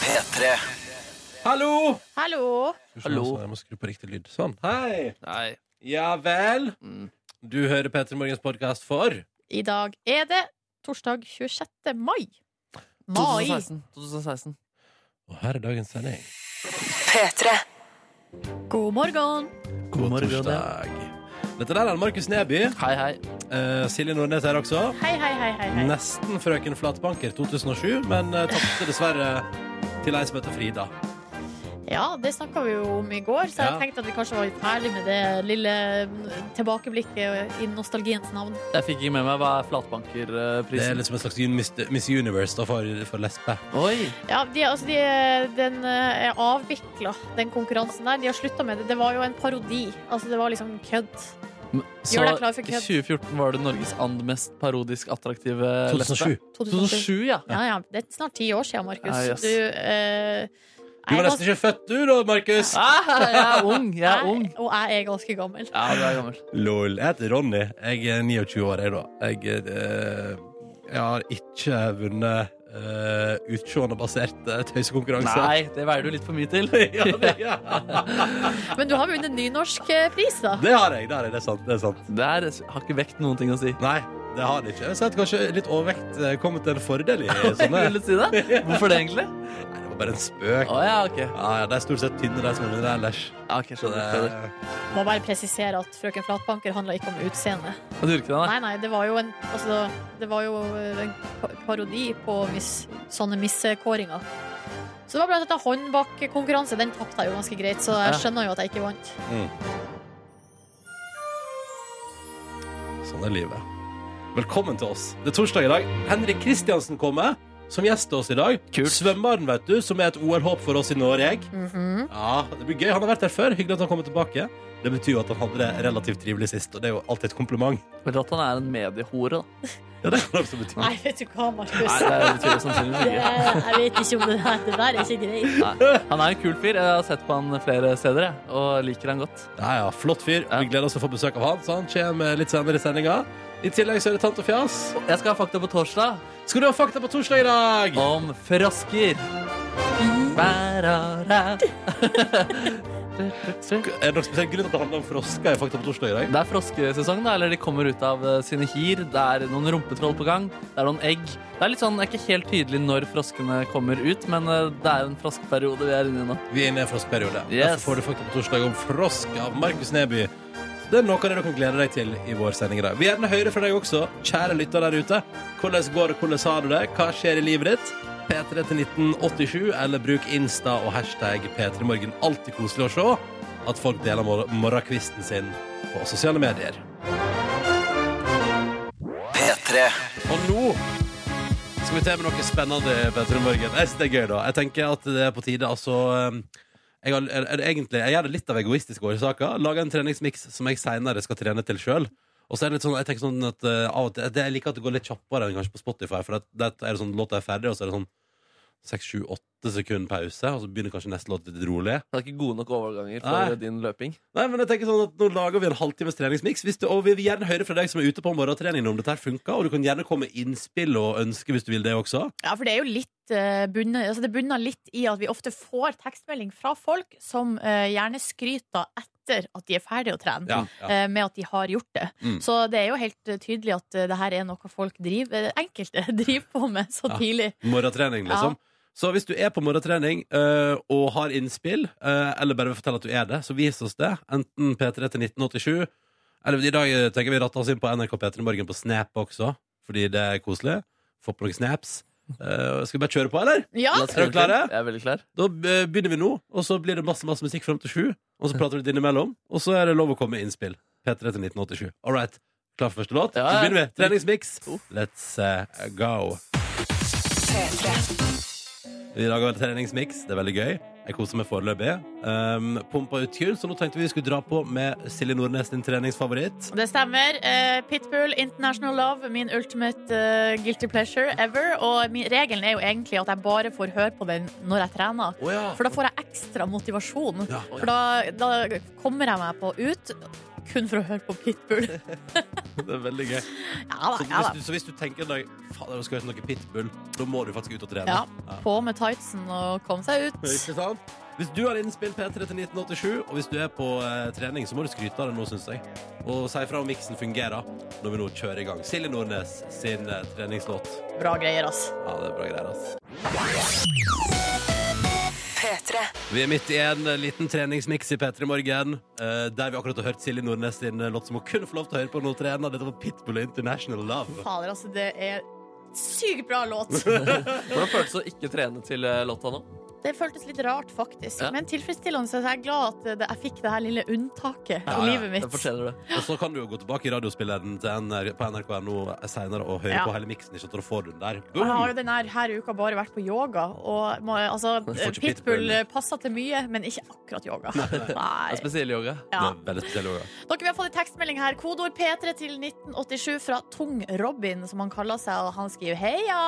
P3. Hallo! Hallo! Skal vi se, Hallo. altså, Jeg må skru på riktig lyd. Sånn. Hei! Nei. Ja vel? Mm. Du hører Petter Morgens podkast for I dag er det torsdag 26. mai. Mai. 2016. 2016. Og her er dagens sending. God morgen. God morgen, torsdag. Dette der er Markus Neby. Hei, hei. Eh, Silje Nordnes her også. Hei, hei, hei, hei. hei. Nesten Frøken Flatbanker 2007, men uh, tapte dessverre til ei som heter Frida. Ja, det snakka vi jo om i går, så Ja. jeg tenkte at vi kanskje var litt ferdig med det lille tilbakeblikket i nostalgiens navn. Jeg fikk ikke med meg hva er Det er flatbankerprisen. liksom en slags un- Miss, Miss Universe da, for, for lesbe. Oi! Ja, de, altså, de, den eh, er avvikla, den konkurransen der. De har slutta med det. Det var jo en parodi. Altså, det var liksom kødd. Så deg klar for i kødd. 2014 var det Norges and mest parodisk attraktive lesbe. 2007. 2007, ja. Ja, ja. Det er snart ti år siden, Markus. Ja, yes. Du eh, Du jeg var er nesten ikke født, du da, Markus. Ah, jeg er ung. Jeg gans- er ung. Og jeg er ganske gammel. Ja, du er gammel. Lol. Jeg heter Ronny. Jeg er 29 år, jeg, da. Jeg, eh, jeg har ikke vunnet uh, utseendebaserte tøysekonkurranser. Nei, det veier du litt for mye til. eh, ja, det, ja. Men du har vunnet nynorsk eh, pris, da. det har jeg. Det, har jeg. det er sant. Det er sant. Det her har ikke vekt noen ting å si. Nei, det har det ikke. Jeg har kanskje litt overvekt eh, kommet til en fordel i sånne. Vil du si det? Hvorfor det, egentlig? Nei, det var bare en spøk. Å ja, OK. Ja, ja, De er stort sett tynne, de som er under ellers. Ja, ok, Så det, skjønner du. Må bare presisere at Frøken Flatbanker handla ikke om utseende. Du gjorde ikke det, nei? Nei, nei, det var jo en, altså, det var jo eh, en pa- parodi på mis, sånne missekåringer. Så det var blant annet håndbakkonkurranse. Den tapte jeg jo ganske greit, så Ja. jeg skjønner jo at jeg ikke vant. sånn er livet. Velkommen til oss. Det er torsdag i dag. Henrik Kristiansen kommer som gjest til oss i dag. Kult. Svømmeren, vet du, som er et OL-håp for oss i Norge. Mhm. Ja, det blir gøy. Han har vært her før. Hyggelig at han kommer tilbake. Det betyr jo at han hadde det relativt trivelig sist, og det er jo alltid et kompliment. Vel at han er en mediehore, da. Ja, det kan også bety. Nei, vet du hva, Markus. Nei, det betyr jo sannsynligvis Det, ikke. jeg vet ikke om det der, det der er ikke greit. Nei. Han er en kul fyr. Jeg har sett på han flere steder jeg, og liker han godt. Ja, ja, flott fyr. Vi gleder oss til å få besøk av han, så han kommer litt senere i sendinga. I tillegg så er det tant og fjas. Jeg skal ha fakta på torsdag Skal du ha fakta på torsdag i dag? om frosker. Bæ-ra-ra. Det Er det noen spesiell grunn til at det handler om frosker i Fakta på torsdag i dag? er froskesesong, da. Eller de kommer ut av eh, sine hir. Det er noen rumpetroll på gang. Det er noen egg. Det er litt sånn, det er ikke helt tydelig når froskene kommer ut, men eh, det er en froskeperiode vi er inne i nå. Vi er inne i en froskperiode. Yes. Derfor får du Fakta på torsdag om frosk av Markus Neby. Så Det er noe av det du kan glede deg til i vår sending i dag. Vi vil gjerne høre fra deg også, kjære lytter der ute. Hvordan går det, hvordan har du det, hva skjer i livet ditt? P3 til 1987, eller bruk Insta og hashtag P3morgen. Alltid koselig å se at folk deler mor morgenkvisten sin på sosiale medier. P3. Og nå skal vi til med noe spennende, Petter Morgen. Jeg synes det er gøy, da. Jeg tenker at det er på tide, altså eh, jeg, har, er, er det egentlig, jeg gjør det litt av egoistiske årsaker. Lager en treningsmiks som jeg seinere skal trene til sjøl. Og så er det litt sånn, jeg tenker sånn at eh, av og til det- Jeg liker at det går litt kjappere enn kanskje på Spotify. For at, der er det sånn låta er ferdig, og så er det sånn seks, sju, åtte sekunder pause. Og så begynner kanskje neste låt litt rolig. Det er ikke gode nok overganger Nei. for eh, din løping. Nei, men jeg tenker sånn at Nå lager vi en halvtimes treningsmiks. Hvis du, og vi vil gjerne høre fra deg som er ute på morgentrening om dette her funker. Og du kan gjerne komme med innspill og ønske hvis du vil det også. Ja, for det er jo litt eh, bunnet, altså det bunner litt i at vi ofte får tekstmelding fra folk som eh, gjerne skryter etter at de er ferdige å trene. Ja, ja. eh, med at de har gjort det. Mm. Så det er jo helt eh, tydelig at eh, det her er noe folk driver, eh, enkelte driver på med så Ja. tidlig. Morgentrening, liksom. Så hvis du er på morgentrening øh, og har innspill, øh, eller bare vil fortelle at du er det, så vis oss det. Enten P3 til 1987, eller i dag øh, tenker vi ratte oss inn på NRK P3 Morgen på Snap også, fordi det er koselig. Få på noen snaps. Eh, skal vi bare kjøre på, eller? Ja, La oss Er dere gå til. klare? Jeg er veldig klar. Da eh, begynner vi nå, og så blir det masse masse musikk fram til sju. Og så prater vi litt innimellom, og så er det lov å komme med innspill. P3 til 1987. All right. Klar for første låt? Ja, Så ja. begynner vi. Treningsmiks. Let's eh, go. I dag har vi treningsmiks. Det er veldig gøy. Jeg koser meg foreløpig. Um, Pumpa ut tunes, så nå tenkte vi vi skulle dra på med Silje Nordnes sin treningsfavoritt. det stemmer. Eh, Pitbull, International Love, min ultimate eh, guilty pleasure ever. Og min, regelen er jo egentlig at jeg bare får høre på den når jeg trener. Å ja. For da får jeg ekstra motivasjon. Ja. For da, da kommer jeg meg på ut. kun for å høre på Pitbull. Det er veldig gøy. Ja da, Så ja hvis da. du, så hvis du tenker en dag Faen, jeg skal høre noe pitbull, da må du faktisk ut og trene. Ja, på med tightsen og kom seg ut. Ikke sant? Hvis du har innspill P3 til 1987, og hvis du er på eh, trening, så må du skryte av det nå, syns jeg. Og si fra om miksen fungerer når vi nå kjører i gang. Silje Nordnes sin eh, treningslåt. Bra greier, ass. Ja, det er bra greier, ass. Vi er midt i en eh, liten treningsmiks i P3 Morgen, eh, der vi akkurat har hørt Silje Nordnes sin eh, låt som hun kun får lov til å høre på når hun trener. Dette var Pitbull og International Love. Fader, altså, det er sykt bra låt. Hvordan føltes det å ikke trene til eh, låta nå? Det føltes litt rart, faktisk. Ja. Men tilfredsstillende. Så jeg er glad at det- jeg fikk det her lille unntaket Ja, i ja. livet Jeg mitt. fortjener det. Og så kan du jo gå tilbake i radiospilleren til NR på NRK.no senere og høre Ja. på hele miksen. Ikke at du får den der. Og Jeg har Boom! jo denne her uka bare vært på yoga, og må, altså, får ikke pitbull pitbull. passer til mye, men ikke akkurat yoga. Altså, Det er Nei. spesiell yoga. Ja. Det er veldig spesiell yoga. Dere vi har fått en tekstmelding her. Kodord P3 til 1987 fra Tung-Robin, som han kaller seg. Og han skriver heia!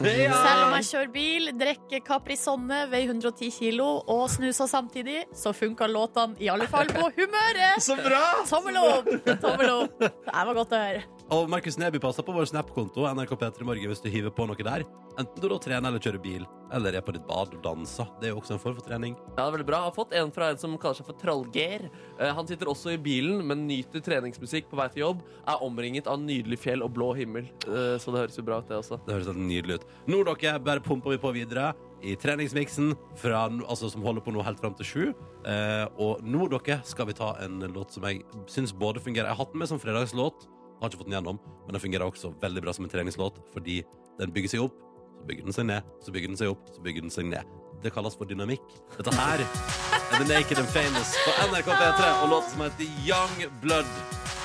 Heia! Selv om jeg kjører bil, drikker Caprisonne, veier 110 kilo og snuser samtidig, så funka låtene i alle fall på humøret! Så bra! Tommel opp! Tommel opp. Det var godt å høre. Og Markus Neby passer på vår Snap-konto NRK P3 Morgen hvis du hiver på noe der. Enten du da trener eller kjører bil, eller er på ditt bad og danser. Det er jo også en form for trening. Ja, det er veldig bra. Jeg har fått en fra en som kaller seg for Trallgeir. Eh, Han sitter også i bilen, men nyter treningsmusikk på vei til jobb. Er omringet av nydelig fjell og blå himmel. Eh, Så det høres jo bra ut, det også. Det høres helt nydelig ut. Nå, dere, bare pumper vi på videre i treningsmiksen, fra, n- altså, som holder på nå helt fram til sju. Eh, og nå, dere, skal vi ta en låt som jeg syns både fungerer Jeg har hatt den med som fredagslåt, har ikke fått den gjennom, men den fungerer også veldig bra som en treningslåt fordi den bygger seg opp, så bygger den seg ned, så bygger den seg opp, så bygger den seg ned. Det kalles for dynamikk. Dette her er The Naked and Famous på NRK P3 og låten som heter Young Blood.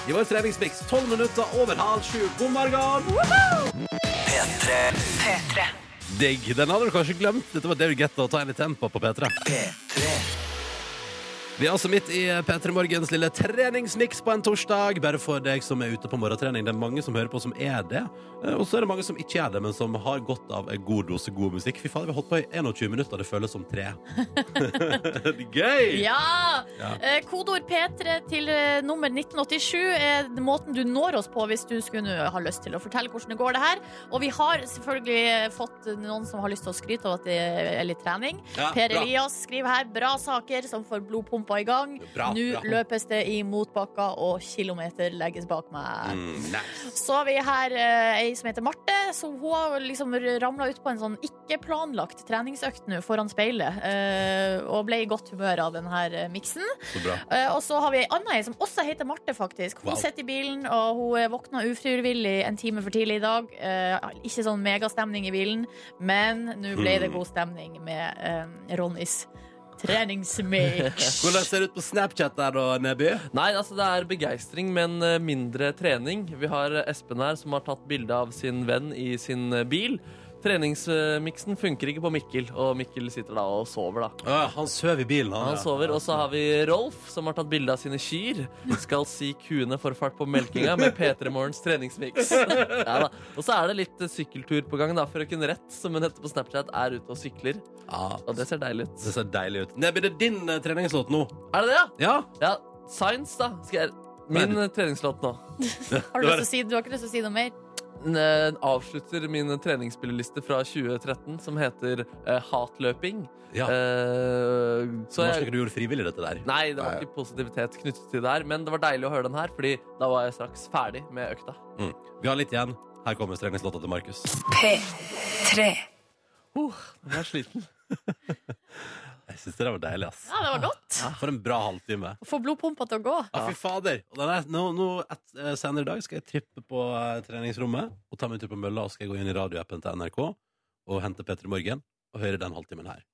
I vår treningsmiks tolv minutter over halv sju. God morgen! Digg. Den hadde du kanskje glemt. Dette var David Guetta og Tiny Tempo på P3. Vi er altså midt i P3 Morgens lille treningsmiks på en torsdag. Bare for deg som er ute på morgentrening. Det er mange som hører på som er det. Eh, Og så er det mange som ikke er det, men som har godt av en god dose god musikk. Fy fader, vi har holdt på i 21 minutter. Det føles som tre. Det er Gøy! Ja! Ja. Eh, Kodeord P3 til eh, nummer 1987 er den måten du når oss på hvis du skulle nå ha lyst til å fortelle hvordan det går det her. Og vi har selvfølgelig fått noen som har lyst til å skryte av at det er litt trening. Ja, per bra. Elias skriver her bra saker som får blodpumpa i gang. Bra, Nå bra. løpes det i motbakka, og kilometer legges bak meg. Mm, nice. Så har vi her eh, ei som heter Marte. Så hun har liksom ramla ut på en sånn ikke-planlagt treningsøkt nå foran speilet. eh, og ble i godt humør av den her eh, miksen. Så bra. Eh, og så har vi ei anna ei som også heter Marte, faktisk. Hun Wow. sitter i bilen, og hun eh, våkna ufrivillig en time for tidlig i dag. Eh, ikke sånn megastemning i bilen, men nå ble det Mm. god stemning med eh, Ronnys treningsmix. Hvordan ser det ut på Snapchat der, da, Neby? Nei, altså det er begeistring, men eh, mindre trening. Vi har eh, Espen her som har tatt bilde av sin venn i sin eh, bil. Treningsmiksen funker ikke på Mikkel, og Mikkel sitter da og sover, da. Å, han sover i bilen. Han sover, Og så har vi Rolf, som har tatt bilde av sine kyr. Skal si kuene får fart på melkinga med P3 Morgens treningsmiks. Ja, da. og så er det litt eh, sykkeltur på gang, da. Frøken Rett, som hun heter på Snapchat, er ute og sykler. Ja, Og det ser deilig ut. Det ser deilig ut. Neby, det er din eh, treningslåt nå. Er det det, ja? Ja? Ja, Science, da. Skal jeg Min eh, treningslåt nå. Har du, lyst til å si, du har ikke lyst til å si noe mer? eh, avslutter min treningsspilleliste fra 2013, som heter eh, hatløping. Ja. Eh, Så så jeg... jeg, ikke du gjorde frivillig dette der. nei, det var Nei. ikke positivitet knyttet til det her, men det var deilig å høre den her, Fordi da var jeg straks ferdig med økta. Mm. Vi har litt igjen. Her kommer treningslåta til Markus. P3. Uh, jeg er sliten. Jeg syns det der var deilig, ass. Ja, det var godt. For en bra halvtime. Få blodpumpa til å gå. Ja, fy fader. Og den er, nå, nå et, eh, senere i dag skal jeg trippe på eh, treningsrommet og ta meg en tur på mølla, og skal jeg gå inn i radioappen til NRK og hente Petter i Morgen og høre den halvtimen her.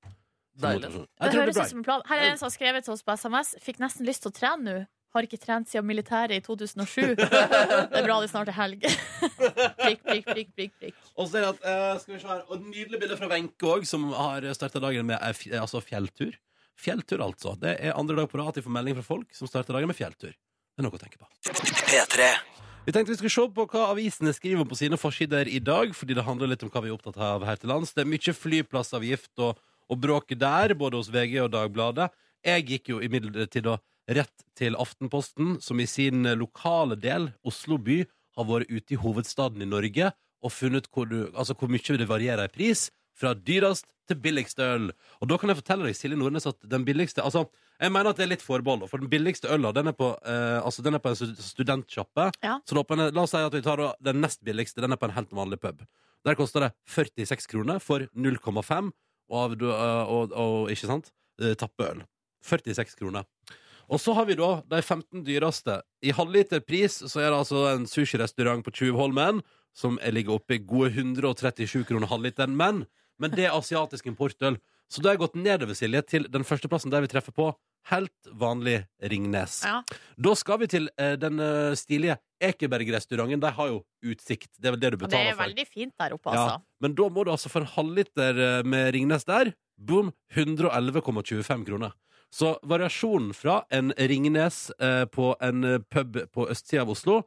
Som Deilig. motivasjon. Det Jeg tror det høres blir ut som en plan. Her er en som har skrevet til oss på SMS. Fikk nesten lyst til å trene nå. Har ikke trent siden militæret i 2007. Det er bra det snart er helg. Prikk, prikk, prikk, prikk. prikk. Og så er det at, eh, skal vi se her, og nydelig bilde fra Wenche òg, som har starta dagen med eh, fj- eh, altså fjelltur. Fjelltur, altså. Det er andre dag på rad at jeg får melding fra folk som starter dagen med fjelltur. Det er noe å tenke på. Vi tenkte vi skulle se på hva avisene skriver om på sine forsider i dag, fordi det handler litt om hva vi er opptatt av her til lands. Det er mye flyplassavgift og, og bråket der, både hos VG og Dagbladet. Jeg gikk jo imidlertid og rett til Aftenposten, som i sin lokale del, Oslo by, har vært ute i hovedstaden i Norge og funnet hvor, du, altså hvor mye det varierer i pris fra dyrest til billigst øl. Og da kan jeg fortelle deg, Silje Nordnes, at den billigste Altså, jeg mener at det er litt forbehold, for den billigste øla, den er på, eh, altså, den er på en stud- studentsjappe. Ja. Så da på en, la oss si at vi tar da den nest billigste, den er på en helt vanlig pub. Der koster det 46 kroner for 0,5 og, av- du- eh, og, og ikke sant? eh, Tappeøl. 46 kroner. Og så har vi da de 15 dyreste. I halvliterpris så er det altså en sushirestaurant på Tjuvholmen som ligger oppe i gode 137 kroner halvliteren, men, men det er asiatisk importøl. Så da har jeg gått nedover, Silje, til den førsteplassen der vi treffer på helt vanlig Ringnes. Ja. Da skal vi til eh, den eh, stilige Ekeberg-restauranten. De har jo utsikt. Det er vel det du Og Det betaler er for. veldig fint der oppe, Ja, altså. Men da må du altså for en halvliter eh, med Ringnes der Boom, 111,25 kroner Så variasjonen fra en Ringnes eh, på en eh, pub på østsida av Oslo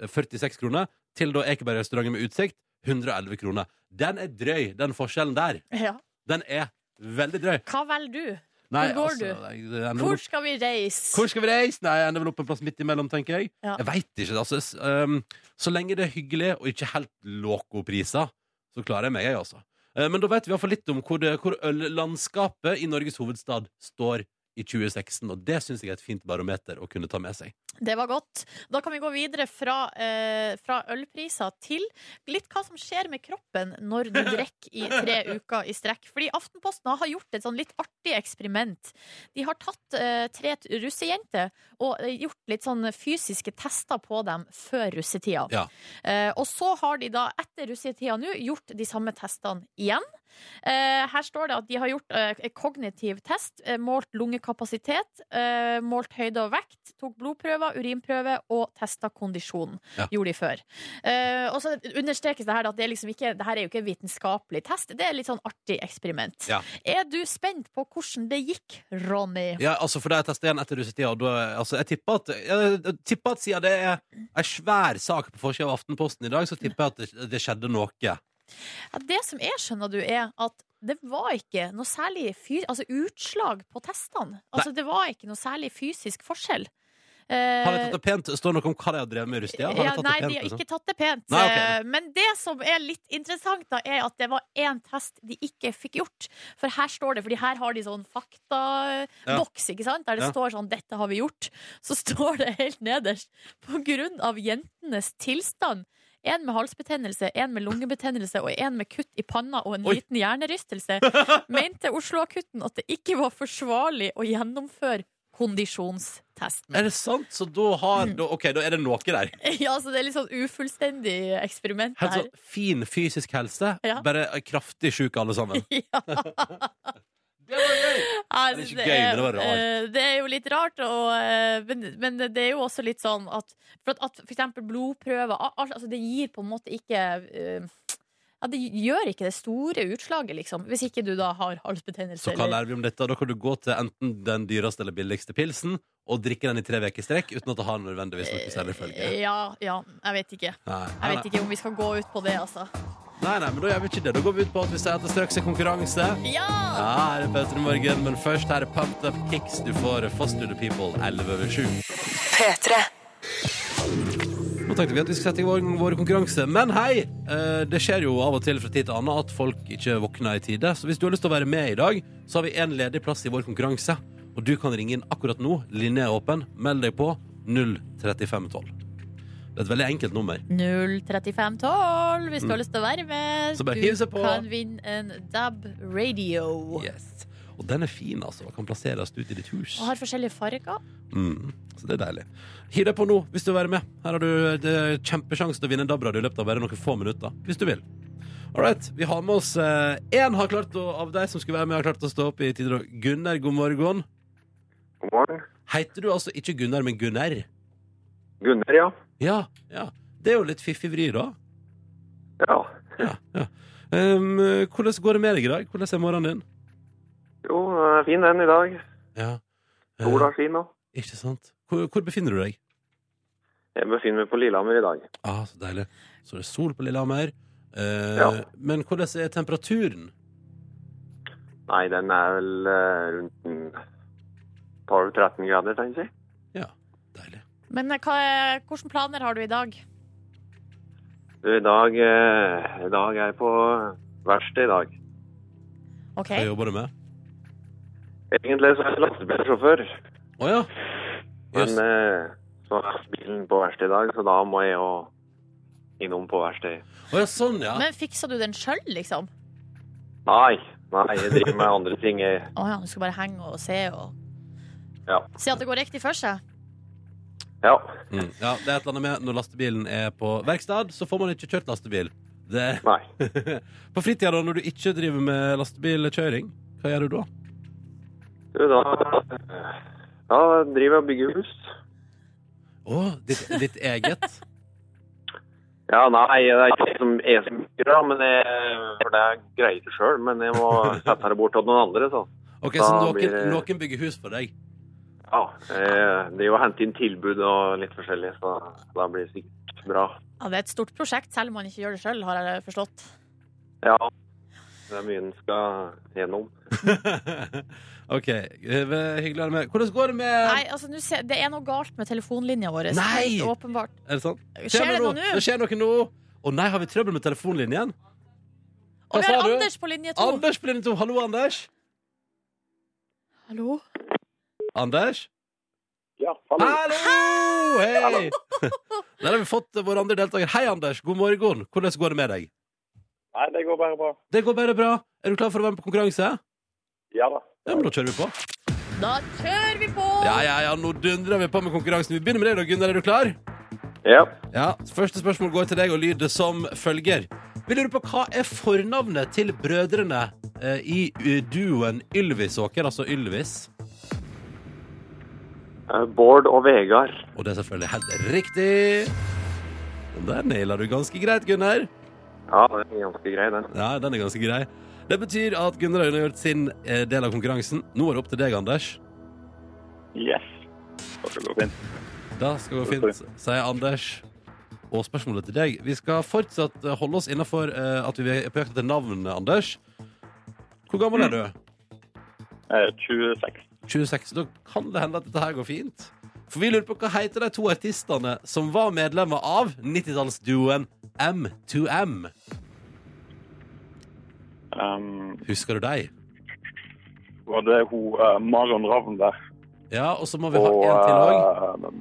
eh, 46 kroner Til da Ekeberg-restauranten med utsikt 111 kroner Den er drøy, den forskjellen der Ja. Den er veldig drøy Hva velger du? Nei, Hvor går altså, du? jeg- jeg ender vel Hvor opp- skal vi reise? Hvor skal vi reise? Nei, jeg ender vel opp en plass midt imellom, tenker jeg Ja. Jeg vet ikke, altså s- ehm, Så lenge det er hyggelig og ikke helt loco-priser Så klarer jeg meg, jeg altså Eh, Men da vet vi i hvert fall litt om hvor, det, hvor øllandskapet i Norges hovedstad står i 2016 Og det synes jeg er et fint barometer å kunne ta med seg Det var godt. Da kan vi gå videre fra, eh, fra ølpriser til litt hva som skjer med kroppen når du drikker i tre uker i strekk. Fordi Aftenposten har gjort et sånn litt artig eksperiment. De har tatt eh, tre t- russejenter og eh, gjort litt sånn fysiske tester på dem før russetida. Ja. Eh, og så har de da etter russetida nå gjort de samme testene igjen. Eh, her står det at de har gjort eh, kognitiv test, eh, målt lungekapasitet, eh, målt høyde og vekt, tok blodprøver, urinprøve og testa kondisjon. Ja. Gjorde de før. Eh, og så understrekes det her at det, er liksom ikke, det her er jo ikke en vitenskapelig test, det er litt sånn artig eksperiment. Ja. Er du spent på hvordan det gikk, Ronny? Ja, altså for da jeg testet igjen etter russetida og da- altså, jeg, tipper at, jeg, jeg tipper at siden det er en svær sak på forsiden av Aftenposten i dag Så tipper jeg at det, det skjedde noe Ja, det som jeg skjønner du er at det var ikke noe særlig fyr, altså utslag på testene. Altså, det var ikke noe særlig fysisk forskjell. Eh, Har jeg tatt det pent? Står det noe om hva jeg har drevet med i russetida? Har jeg ja, tatt nei, det pent, de har liksom? ikke tatt det pent. Nei, ok. Eh, Men det som er litt interessant, da, er at det var én test de ikke fikk gjort. For her står det, fordi her har de sånn faktaboks, ikke sant? der det Ja. står sånn 'dette har vi gjort'. Så står det helt nederst på grunn av jentenes tilstand. En med halsbetennelse, en med lungebetennelse og en med kutt i panna og en Oi. liten hjernerystelse, mente Oslo-akutten at det ikke var forsvarlig å gjennomføre kondisjonstesten. Er det sant? Så da har Mm. da, Ok, da er det noe der. Ja, så det er litt sånn ufullstendig eksperiment Helt her. sånn fin fysisk helse, Ja. bare kraftig sjuke alle sammen. Ja. Det er Jeg synes ikke Det gøy, er, men det var rart. eh, det er jo litt rart, og, eh, men, men det er jo også litt sånn at For, at, at for eksempel blodprøver al- al- altså Det gir på en måte ikke eh, ja, Det gjør ikke det store utslaget, liksom. Hvis ikke du da har halsbetennelse. Så hva eller- lærer vi om dette? Da kan du gå til enten den dyreste eller billigste pilsen og drikke den i tre uker i strekk uten at det har nødvendigvis noe særlig følge. Ja, ja, jeg vet ikke. Nei, nei, Eh, Jeg vet ikke om vi skal gå ut på det, altså. nei, nei, men da gjør vi ikke det. Da går vi ut på at vi sier at det straks er konkurranse. Ja, Ja! her er Petter i morgen, men først her er Pumped Up Kicks. Du får Foster the People 11 over 7. P3. Nå tenkte vi at vi skulle sette i gang vår konkurranse, men hei! eh, Det skjer jo av og til fra tid til annen at folk ikke våkner i tide. Så hvis du har lyst til å være med i dag, så har vi en ledig plass i vår konkurranse. Og du kan ringe inn akkurat nå. Linje er åpen. Meld deg på 03512. Det er et veldig enkelt nummer. 03512 hvis du har lyst til å være med. Mm. Så bare du hiv seg på. kan vinne en DAB radio. Yes. Og den er fin, altså. Og kan plasseres ut i ditt hus. Og har forskjellige farger. Mm. Så det er deilig. Hiv deg på nå hvis du vil være med. Her har du eh, det er kjempesjanse til å vinne en DAB-radio i løpet av bare noen få minutter. Hvis du vil. All right, vi har med oss én har klart å, av deg som skulle være med, har klart å stå opp i tider. og- Gunnar, god morgen. God morgen. Heter du altså ikke Gunnar, men Gunnar? Gunnar, ja. Ja. ja. Det er jo litt fiffig vri, da. Ja. Ja, ja. Um, hvordan går det med deg i dag? Hvordan er morgenen din? Jo, den er fin den i dag. Ja. Eh, Sola er fin nå. ikke sant. Hvor, hvor befinner du deg? Jeg befinner meg på Lillehammer i dag. Ah, så deilig. Så det er sol på Lillehammer. Eh, Ja. Men hvordan er temperaturen? Nei, den er vel eh, rundt en 12-13 grader, tenker jeg. Men eh, hva, er- hvilke planer har du i dag? Du, i dag, eh, i dag er jeg på verksted i dag. OK. Hva jobber du med? Egentlig så er jeg lastebilsjåfør, Å ja. men Jøss. eh, så er bilen på verksted i dag, så da må jeg jo innom på verksted. Å ja, sånn, ja. Men fiksa du den sjøl, liksom? Nei, nei, jeg driver med andre ting. Jeg, Å ja, du skal bare henge og se og ja. Se at det går riktig for seg? ja. Mm. ja. Det er et eller annet med når lastebilen er på verkstad, så får man ikke kjørt lastebil. Det... Nei. på fritida, da, når du ikke driver med lastebilkjøring, hva gjør du da? Du, da, eh, da driver jeg og bygger hus. Å, ditt, ditt eget? Ja, nei, det er ikke jeg som jeg som bygger, da, men jeg, for det greier jeg ikke sjøl. Men jeg må sette det bort til noen andre, så. Ok, Så Da blir noen, det- noen bygger hus for deg? Ja, eh, det er jo å hente inn tilbud og litt forskjellig, så da blir det sikkert bra. Ja, det er et stort prosjekt, selv om man ikke gjør det sjøl, har jeg forstått. Ja, det er mye en skal gjennom. OK. eh, Hyggelig å være med. Hvordan går det med Nei, altså, nå ser- det er noe galt med telefonlinja vår. Nei! Helt Åpenbart. Er det sånn? Skjer det noe nå? Det skjer noe nå. Å nei, har vi trøbbel med telefonlinjen? Og vi sa har du? Anders på linje to. Anders på linje to. Hallo, Anders. Hallo? Anders? Ja, Hallo! Hei! Der har vi fått vår andre deltaker. Hei, Anders. God morgen. Hvordan går det med deg? Nei, det går bare bra. Det går bare bra. Er du klar for å være med på konkurranse? Ja da. Ja, men Da kjører vi på. Da kjører vi på! Ja, ja, ja, Nå dundrer vi på med konkurransen. Vi begynner med deg, da, Gunnar. Er du klar? Ja. Ja, Første spørsmål går til deg og lyder som følger. Vi lurer på hva er fornavnet til brødrene eh, i eh, duoen Ylvisåker, altså Ylvis? Eh, Bård og Vegard. Og det er selvfølgelig helt riktig. Den Der naila du ganske greit, Gunnar. Ja, det er ganske grei, den. Ja, den er ganske grei. Det betyr at Gunnar Øyne har gjort sin eh, del av konkurransen. Nå er det opp til deg, Anders. Yes. Da skal det gå fint. Det skal gå fint, sier Anders. Og spørsmålet til deg. Vi skal fortsatt eh, holde oss innafor eh, at vi er på jakt etter navnet, Anders. Hvor gammel er du? Mm. Eh, 26. 26, da kan det hende at dette her går fint. For vi lurer på hva heter de to artistene som var medlemmer av 90-tallsduoen M2M. Um, Husker du deg? og det er hun eh, Marion Ravn der. Ja, og så må vi ha Og en til òg.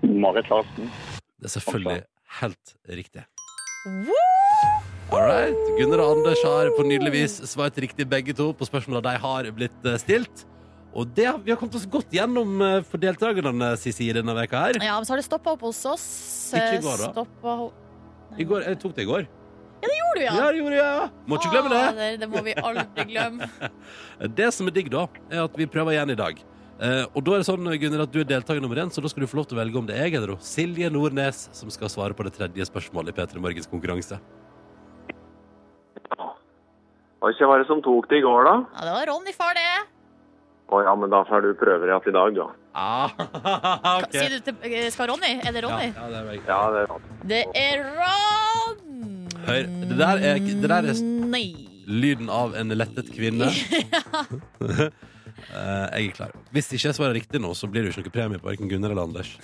eh, Marit Larsen. Det er selvfølgelig helt riktig. Woo! All right. Gunnar og Anders har på nydelig vis svart riktig begge to på spørsmåla de har blitt eh, stilt. Og det, har- vi har kommet oss godt gjennom eh, for deltakerne, Sisi, i denne veka her. Ja, men så har det stoppa opp hos oss. Ikke i går, da. Stoppa ho- I går, jeg tok det i går. Gjorde du, ja? Ja, det gjorde jeg. Må ikke glemme det. Eh, Ah, det, det må vi aldri glemme. Det som er digg da, er at vi prøver igjen i dag. Eh, og da er det sånn, Gunnar, at du er deltaker nummer én, så da skal du få lov til å velge om det er jeg eller hun, Silje Nordnes som skal svare på det tredje spørsmålet i P3 Morgens konkurranse. Og ikke var det som tok det i går, da? Ja, det var Ronny far, det. Å ja, men da får du prøve det igjen i dag, da. Ah, Ka- ok. Sier du til, eh, skal Ronny? Er det Ja, Ronny? ja, det er meg. Ja, det er sant. Det er Ron! Hør, det der er- det der er- Nei. Lyden av en lettet kvinne. Eh, jeg er klar. Hvis ikke jeg svarer riktig nå, så blir det jo ikke noe premie på hverken Gunnar eller Anders.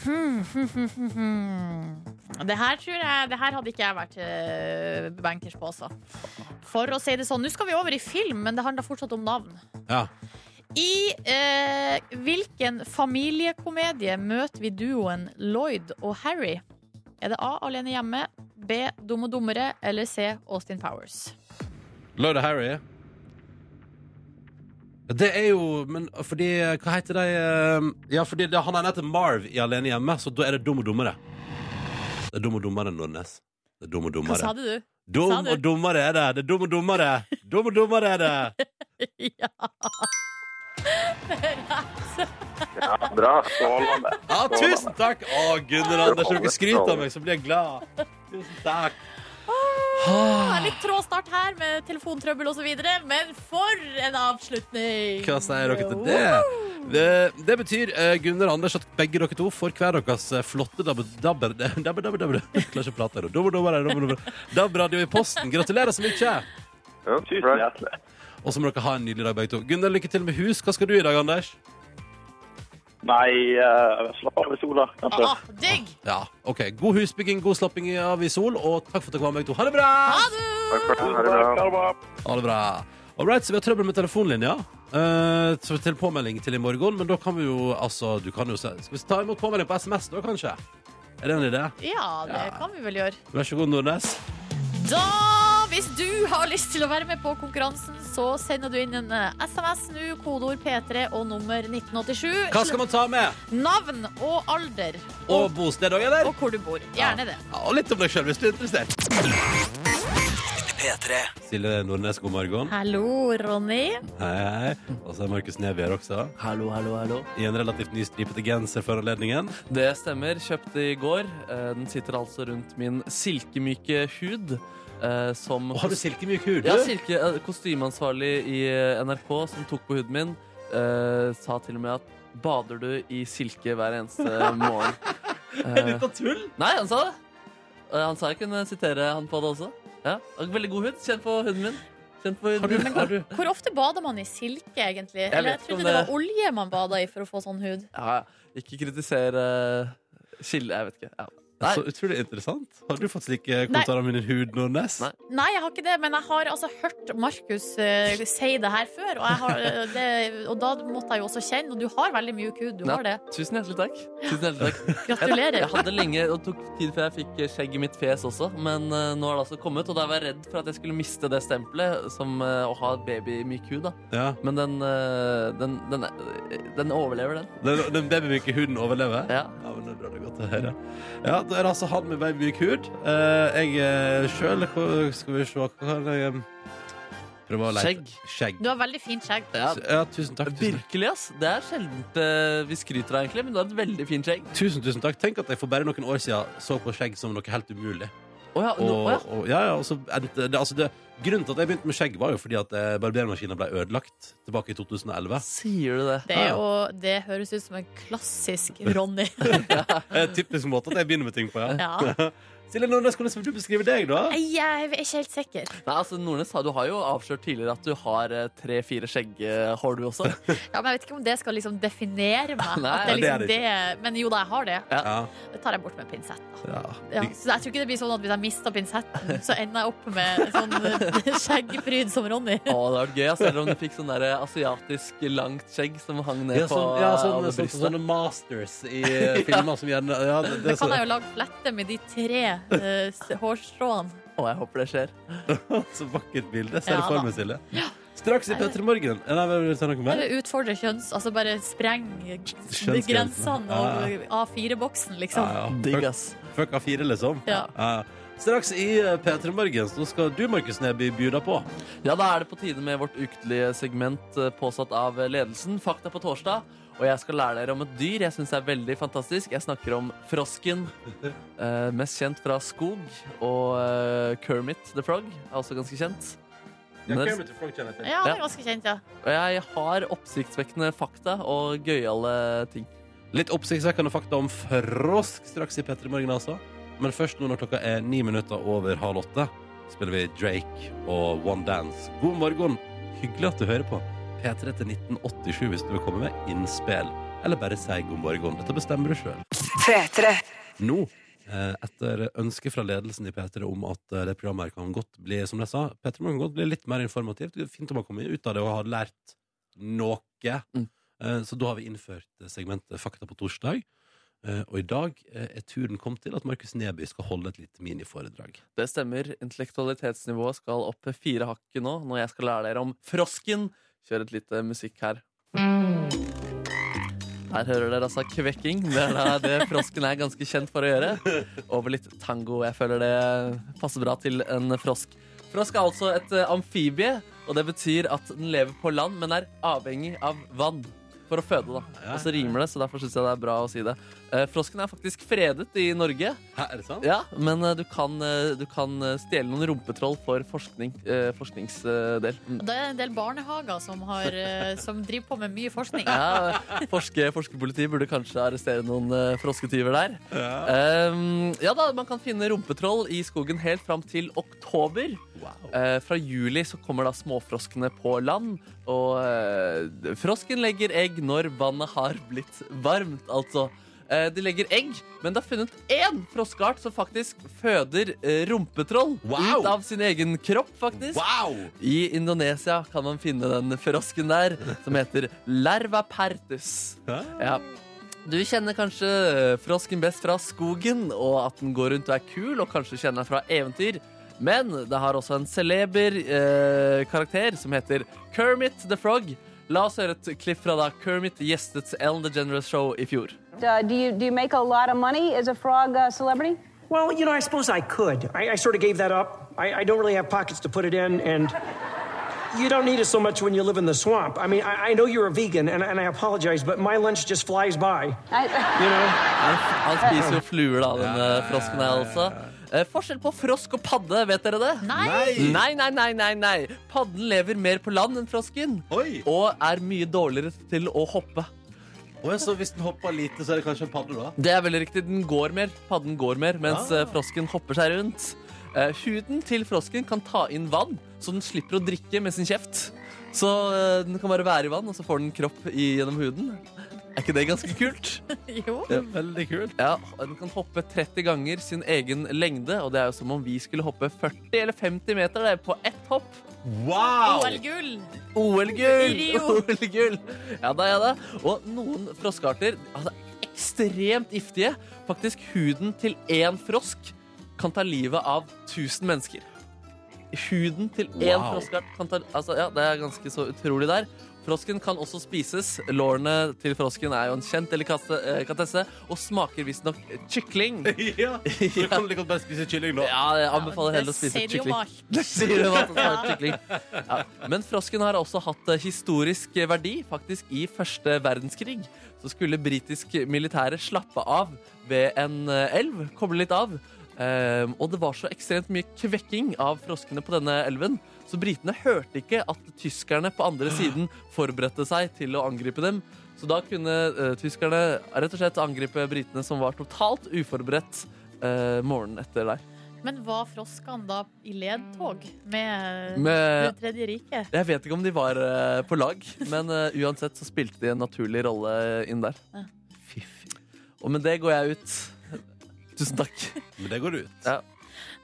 Det her tror jeg Det her hadde ikke jeg vært eh, bankers på, altså. For å si det sånn. Nå skal vi over i film, men det handler fortsatt om navn. Ja. I eh, hvilken familiekomedie møter vi duoen Lloyd og Harry? Er det A. Alene hjemme, B. Dum og dummere eller C. Austin Powers? Lloyd og Harry. Det er jo Men fordi Hva heter de eh, Ja, fordi det, han ene heter Marv i Alene hjemme, så da er det Dum og dummere. Det er Dum og dummere enn Nordnes. Det er dum og Hva sa dummere. du? Dum sa du? og dummere er det! Det er dum og dummere! Dum og dummere er det! ja. Ja, bra. Strålende. Ja, tusen takk! Å, Gunnar Anders, når dere skryter av meg, så blir jeg glad. Tusen takk. Det er litt trå start her med telefontrøbbel osv., men for en avslutning! Hva sier dere til det? Det, det betyr eh, Gunnar og Anders at begge dere to får hver deres eh, flotte dabber... Dabber... Dabber... dabber, dabber. Jeg klarer ikke å prate her. Dobber, dobber, dobber, dobber. DAB-radio i posten. Gratulerer så mye! Ja, Tusen bra. hjertelig. Og så må dere ha en nydelig dag, begge to. Gunnar, lykke til med hus. Hva skal du i dag, Anders? Nei, eh, slapp av i sola, kanskje. Ah, digg! Ja, ok. God husbygging, god slapping av i sol, og takk for at dere var med, begge to. Ha det bra! Ha det! Takk for det. Tusen Ha det bra. takk, ha det bra. ah. Ha det bra. All right, så vi har trøbbel med telefonlinja. Eh, så til påmelding til i morgen, men da kan vi jo altså du kan jo, se- Skal vi ta imot påmelding på SMS, da, kanskje? Er det en idé? Ja, det kan vi vel gjøre. Vær så god, Nordnes. Da, hvis du har lyst til å være med på konkurransen, så sender du inn en eh, SMS nå, kodeord P3 og nummer 1987. Hva skal man ta med? Navn og alder. Og bosted òg, eller? og hvor du bor. Gjerne det. Ja, og litt om deg sjøl, hvis du er interessert. Silje Nordnes, god morgen. Hallo, Ronny. Hei, hei. Og så er Markus Neby her også. Hallo, hallo, hallo. I en relativt ny stripete genser for anledningen. Det stemmer. Kjøpte i går. Eh, Den sitter altså rundt min silkemyke hud. eh, Som Og har du silkemyk hud? Ja, du? silke, eh, kostymeansvarlig i eh, NRK som tok på huden min, eh, sa til og med at bader du i silke hver eneste morgen. Er dette tull? Nei, han sa det. Eh, Han sa jeg kunne sitere han på det også. Ja, og Veldig god hud. Kjenn på huden min. Kjenn på huden min. Har du? Hvor ofte bader man i silke, egentlig? Jeg, Eller, vet ikke jeg om trodde det... det- var olje man bada i for å få sånn hud. Ja, ja. ikke kritisere skille, jeg vet ikke. Ja. Nei. Så utrolig interessant. Har du fått slike kommentarer om min hud, Nordnes? Nei. Nei, jeg har ikke det, men jeg har altså hørt Markus eh, si det her før, og, jeg har, eh, det, og da måtte jeg jo også kjenne. Og du har veldig mjuk hud, du Ja. har det. Tusen hjertelig takk. Tusen hjertelig takk. Jeg Gratulerer. hadde lenge, og tok tid før jeg fikk skjegg i mitt fjes også, men eh, nå har det altså kommet, og da var jeg redd for at jeg skulle miste det stempelet som eh, å ha et baby i myk hud, da. Ja. Men den, eh, den, den, er- den overlever den. Den, den babymyke huden overlever? Ja. men det er bra, det er godt å høre. Ja, da er det altså han med babymyk hud. Eh, jeg eh, sjøl Skal vi se hva kan jeg eh, Prøve å leite. Skjegg. Skjegg. Du har veldig fint skjegg. Ja, Ja, tusen takk. Tusen, virkelig, ass. Det er sjeldent eh, vi skryter av, egentlig, men du har et veldig fint skjegg. takk. tusen, tusen takk. Tenk at jeg for bare noen år siden så på skjegg som noe helt umulig. Å ja, nå, Og, å ja. og, ja, ja, og så endte det, altså det, grunnen til at jeg begynte med skjegg, var jo fordi at eh, barbermaskinen ble ødelagt tilbake i 2011. Sier du det? Det, er jo, det høres ut som en klassisk Ronny. Eh, typisk måte at jeg begynner med ting på, ja. Ja. Silje Nordnes, hvordan vil du beskrive deg, da? Nei, Jeg er ikke helt sikker. Nei, altså Nordnes, sa- du har jo avslørt tidligere at du har eh, tre-fire skjegghår, du også. Ja, men jeg vet ikke om det skal liksom definere meg. Nei, at det er det er liksom det det Men jo da, jeg har det. Ja. Det tar jeg bort med pinsett. da. Ja, ja. så jeg tror ikke det blir sånn at hvis jeg mister pinsetten, så ender jeg opp med sånn eh, skjeggfryd som Ronny. Å, det hadde vært gøy, ass, selv om du fikk sånn der asiatisk langt skjegg som hang ned Ja, sånn, på ja, eh, sånn, over sånn, brystet. sånne masters i eh, filmer som gjerne ja, det, det, Da kan jeg jo lage flette med de tre eh, s- hårstråene. Å, jeg håper det skjer. så, så vakkert bilde. Ser Ja, du for da. meg, Silje? Straks i P3 Morgen. Eh, Nei, vil du si noe mer? Eller utfordre kjønns... Altså bare spreng g- Kjønnsgrensene. grensene og A4-boksen, liksom. Ja, ja. Digg, Fuck- ass. Fuck A4, liksom. Ja. Ja. Straks i eh, P3 Morgen så skal du, Markus Neby, bjuda på. Ja, da er det på tide med vårt ukentlige segment eh, påsatt av ledelsen. Fakta på torsdag. Og jeg skal lære dere om et dyr jeg syns er veldig fantastisk. Jeg snakker om frosken. eh, mest kjent fra Skog. Og eh, Kermit the Frog er også ganske kjent. Men det- Ja, det er ganske kjent, ja. og jeg har oppsiktsvekkende fakta og gøyale ting. Litt oppsiktsvekkende fakta om frosk straks i P3 Morgen, altså. Men først nå når klokka er ni minutter over halv åtte, spiller vi Drake og One Dance. God morgen. Hyggelig at du hører på. P3 til 1987 hvis du vil komme med innspill. Eller bare si god morgen. Dette bestemmer du sjøl. P3. Nå, eh, etter ønske fra ledelsen i P3 om at eh, det programmet her kan godt bli, som jeg sa, P3 Morgen kan godt bli litt mer informativt. Det er fint om man kommer ut av det og har lært noe. Mm. Eh, Så da har vi innført eh, segmentet Fakta på torsdag. Eh, Og i dag eh, er turen kommet til at Markus Neby skal holde et lite miniforedrag. Det stemmer. Intellektualitetsnivået skal opp fire hakk nå når jeg skal lære dere om frosken. Kjør et lite musikk her. Her hører dere altså kvekking. Det er da det frosken er ganske kjent for å gjøre. Over litt tango. Jeg føler det passer bra til en frosk. Frosk er altså et eh, amfibie, og det betyr at den lever på land, men er avhengig av vann for å føde. da. Og så rimer det, så derfor syns jeg det er bra å si det. Eh, Frosken er faktisk fredet i Norge. Hæ, er det sant? Ja, men eh, du kan, eh, du kan eh, stjele noen rumpetroll for forskning, eh, forskningsdel. Mm. Og Det er en del barnehager som, har, eh, som driver på med mye forskning. Ja, forske, forskerpolitiet burde kanskje arrestere noen eh, frosketyver der. Ehm, ja da, Man kan finne rumpetroll i skogen helt fram til oktober. Wow. Eh, fra juli så kommer da småfroskene på land, og eh, frosken legger egg når vannet har blitt varmt, altså. Eh, De legger egg, men det er funnet én froskeart som faktisk føder eh, rumpetroll Wow! ut av sin egen kropp, faktisk. Wow! I Indonesia kan man finne den frosken der, som heter lerva pertus. Ja. Du kjenner kanskje eh, frosken best fra skogen, og at den går rundt og er kul, og kanskje kjenner den fra eventyr. Men det har også en celeber eh, karakter som heter Kermit the Frog. La oss høre et klipp fra da Kermit gjestet Ellen DeGeneres show i fjor. Uh, do you do you make a lot of money as a frog uh, celebrity? Well, you know, I suppose I could. I, I sort of gave that up. I, I don't really have pockets to put it in, and you don't need it so much when you live in the swamp. I mean, I, I know you're a vegan, and, and I apologize, but my lunch just flies by. I, You know? Han, han spiser jo fluer, da, denne frosken her, altså. Eh, forskjell på frosk og padde, vet dere det? Nei. Nei, nei, nei, nei, nei. Padden lever mer på land enn frosken. Oi! Og er mye dårligere til å hoppe. Og så hvis den hopper lite, så er det kanskje en padde, da? Det er veldig riktig. Den går mer. Padden går mer, mens eh, frosken hopper seg rundt. Eh, huden til frosken kan ta inn vann, så den slipper å drikke med sin kjeft. Så eh, den kan bare være i vann, og så får den kropp i, gjennom huden. Er ikke det ganske kult? Jo. Veldig kult. Ja, Den kan hoppe 30 ganger sin egen lengde, og det er jo som om vi skulle hoppe 40 eller 50 meter det, på ett hopp. Wow! OL-gull. OL-gull! I Rio. OL-gull! Ja da, ja da. Og noen froskearter altså, ekstremt giftige. Faktisk huden til én frosk kan ta livet av 1000 mennesker. Huden til én Wow. froskeart kan ta altså, Ja, det er ganske så utrolig der. Frosken kan også spises. Lårene til frosken er jo en kjent delikasse- eh, delikatesse og smaker visstnok kykling. Ja, så du kan like godt bare spise kylling nå. Ja, jeg anbefaler heller å spise Det sier jo kykling. alt. Det sier jo alt at det er kykling. Ja. Men frosken har også hatt eh, historisk verdi. Faktisk i første verdenskrig så skulle britisk militære slappe av ved en eh, elv. Koble litt av. Ehm, og det var så ekstremt mye kvekking av froskene på denne elven, så britene hørte ikke at tyskerne på andre siden forberedte seg til å angripe dem. Så da kunne eh, tyskerne rett og slett angripe britene, som var totalt uforberedt eh, morgenen etter der. Men var froskene da i ledtog med, Med- Det tredje riket? Jeg vet ikke om de var eh, på lag, men eh, uansett så spilte de en naturlig rolle inn der. Ja. Og med det går jeg ut. Tusen takk. Men det går ut. Ja.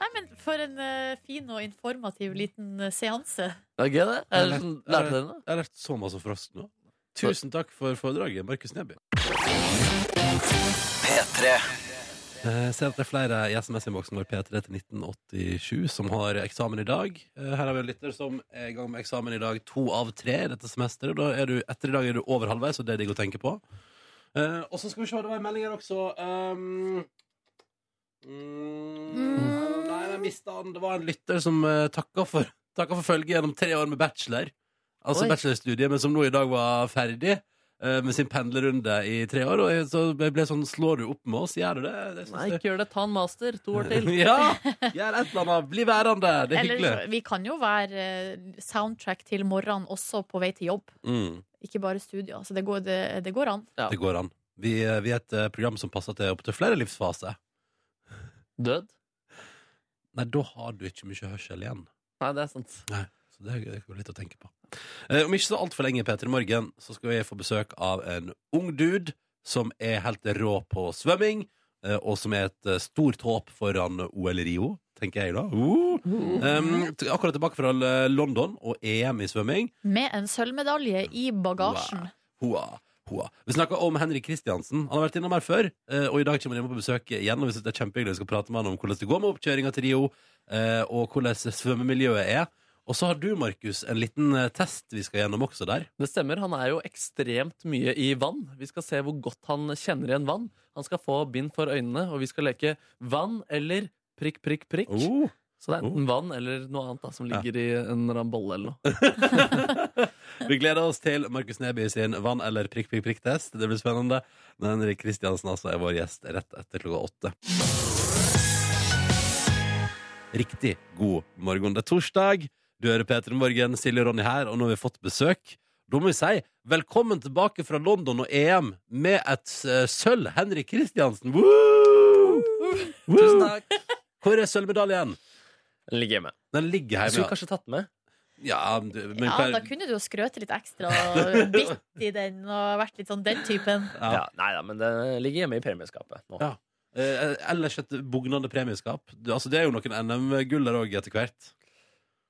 Nei, men for en eh, fin og informativ liten eh, seanse. Det er gøy, det. Er det sånn, lærte dere noe? Jeg har lært så masse om frost nå. Tusen takk for foredraget, Markus Neby. P3. Jeg Eh, ser at det er flere i SMS-innboksen vår P3 til 1987 som har eksamen i dag. Eh, Her har vi en lytter som er i gang med eksamen i dag to av tre i dette semesteret. Da er du, etter i dag er du over halvveis, og det er digg å tenke på. Eh, og så skal vi se, det var en melding her også. Um, mm, nei, jeg mista den. Det var en lytter som uh, takka for, takka for følget gjennom tre år med bachelor. Altså Oi. bachelorstudiet, men som nå i dag var ferdig eh, med sin pendlerrunde i tre år. Og jeg, så ble jeg sånn Slår du opp med oss? Gjør du det? det synes Nei, jeg- ikke gjør det. Ta en master. To år til. ja! Gjør et eller annet. Bli værende. Det er hyggelig. Eller vi kan jo være eh, soundtrack til morgenen også på vei til jobb. Mm, Ikke bare studier. Så det går, det, det går an. det går an. Vi, eh, vi er et eh, program som passer til opptil flere livsfaser. Død? Nei, da har du ikke mye hørsel igjen. Nei, det er sant. Nei, så det er det er litt å tenke på. Eh, om ikke så altfor lenge, Peter, i morgen så skal vi få besøk av en ung dude som er helt rå på svømming, eh, og som er et eh, stort håp foran OL i Rio, tenker jeg da. Uh! Um, t- akkurat tilbake fra eh, London og EM i svømming. Med en sølvmedalje i bagasjen. Hoa, hoa. Vi snakka om Henrik Kristiansen. Han har vært innom her før, eh, og i dag kommer han innom på besøk igjen. Og vi synes det er kjempehyggelig Vi skal prate med han om hvordan det går med oppkjøringa til Rio, eh, og hvordan svømmemiljøet er. Og så har du, Markus, en liten eh, test vi skal gjennom også der. Det stemmer. Han er jo ekstremt mye i vann. Vi skal se hvor godt han kjenner igjen vann. Han skal få bind for øynene, og vi skal leke vann eller prikk, prikk, prikk. Så det er enten vann eller noe annet da, som ligger i en eller annen bolle eller noe. Vi gleder oss til Markus Neby sin vann- eller prikk, prikk, prikk-test. Det blir spennende. Men Henrik Kristiansen altså er vår gjest rett etter klokka åtte. Riktig god morgen. Det er torsdag. Du hører Peter Morgen, Silje og Ronny her, og nå har vi fått besøk. Da må vi si velkommen tilbake fra London og EM med et eh, sølv, Henrik Kristiansen. Woo! Woo! Tusen takk. Hvor er sølvmedaljen? Den ligger hjemme. Den ligger Jeg skulle hjemme. kanskje tatt den med. Ja, du- men Ja, hver- da kunne du jo skrøte litt ekstra og bitt i den og vært litt sånn den typen. Ja. Ja, nei da, men det ligger hjemme i premieskapet nå. Ja. eh, ellers et bugnende premieskap. Du, altså, det er jo noen NM-gull der òg etter hvert.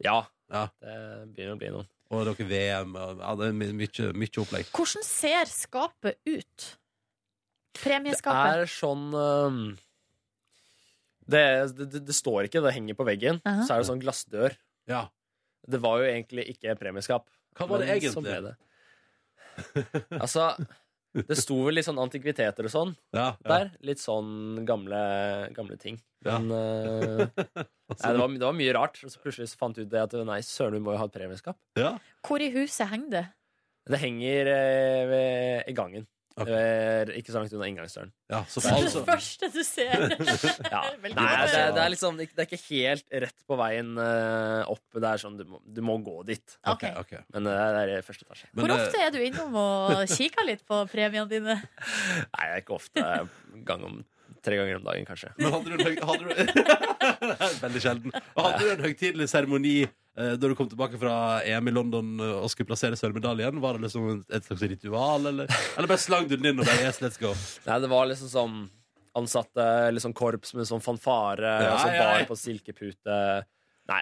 Ja. Ja. Det begynner å bli noen. Og noe VM. Og, ja, det er my- mye, mye opplegg. Hvordan ser skapet ut? Det Premieskapet. er sånn øhm, det, det, det står ikke, det henger på veggen. Aha. Så er det sånn glassdør. Ja. Det var jo egentlig ikke premieskap. Hva var det men egentlig? sånn ble det. Altså, det sto vel litt sånn antikviteter og sånn Ja, ja. der. Litt sånn gamle, gamle ting. Ja. Men øh, nei, det, var, det var mye rart. Og så plutselig så fant vi ut det at nei, søren, vi må jo ha et premieskap. ja. Hvor i huset henger det? Det henger eh, ved, i gangen. Ok. Ved, ikke så langt unna inngangsdøren. ja så Det er altså, det første du ser. Ja. Velkommen. Nei, det, er- det er liksom Det er ikke helt rett på veien eh, opp. Det er sånn, du må, du må gå dit. Ok. ok, ok. Men eh, det er i første etasje. Men, Hvor eh, ofte er du innom og kikker litt på premiene dine? Nei, det er ikke ofte. det er en Gang om, tre ganger om dagen, kanskje. Men hadde du en, høy, hadde du, veldig sjelden. Og hadde du en høytidelig seremoni eh, da du kom tilbake fra EM i London eh, og skulle plassere sølvmedaljen? Var det liksom et slags ritual, eller, eller bare slang du den inn og bare yes, let's go? Nei, det var liksom sånn ansatte, liksom korps med sånn fanfare, Ja, og sånn ja, bar ja. på silkepute. Nei,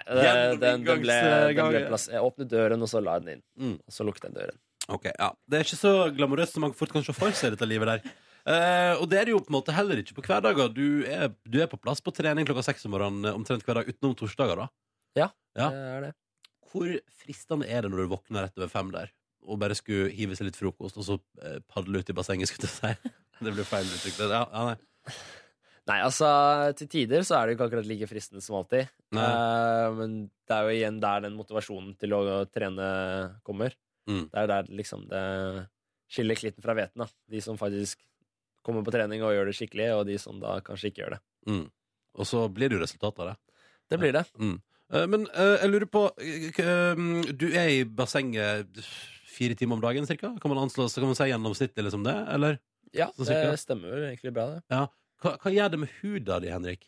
den, den, den Gjennom ble, den ble inngangsgangen. plass, jeg åpnet døren, og så la jeg den inn. eh, Mm. Og så lukket jeg døren. Ok, ja Det er ikke så glamorøst som man fort kan se for seg i dette livet der. Eh, og det er det jo på en måte heller ikke på hverdager. Du er, du er på plass på trening klokka seks om morgenen eh, omtrent hver dag utenom torsdager. da Ja. Det er det. Hvor fristende er det når du våkner rett over fem der og bare skulle hive seg litt frokost og så eh, padle ut i bassenget? skulle jeg si Det blir feil uttrykk. det- Ja, ja, nei. Nei, altså, til tider så er det jo ikke akkurat like fristende som alltid. Nei. Eh, men det er jo igjen der den motivasjonen til å trene kommer. Mm. Det er der liksom det skiller klitten fra hveten, da. De som faktisk kommer på trening og gjør det skikkelig, og de som da kanskje ikke gjør det. Mm. Og så blir det jo resultatet av det. Det blir det. Eh, Men eh, jeg lurer på eh, k- eh, Du er i bassenget fire timer om dagen, cirka? Kan man anslå, så kan man si gjennomsnittlig liksom det? Eller Ja, Så det sikkert. stemmer jo egentlig bra, det. hva, hva gjør det med huda di, Henrik?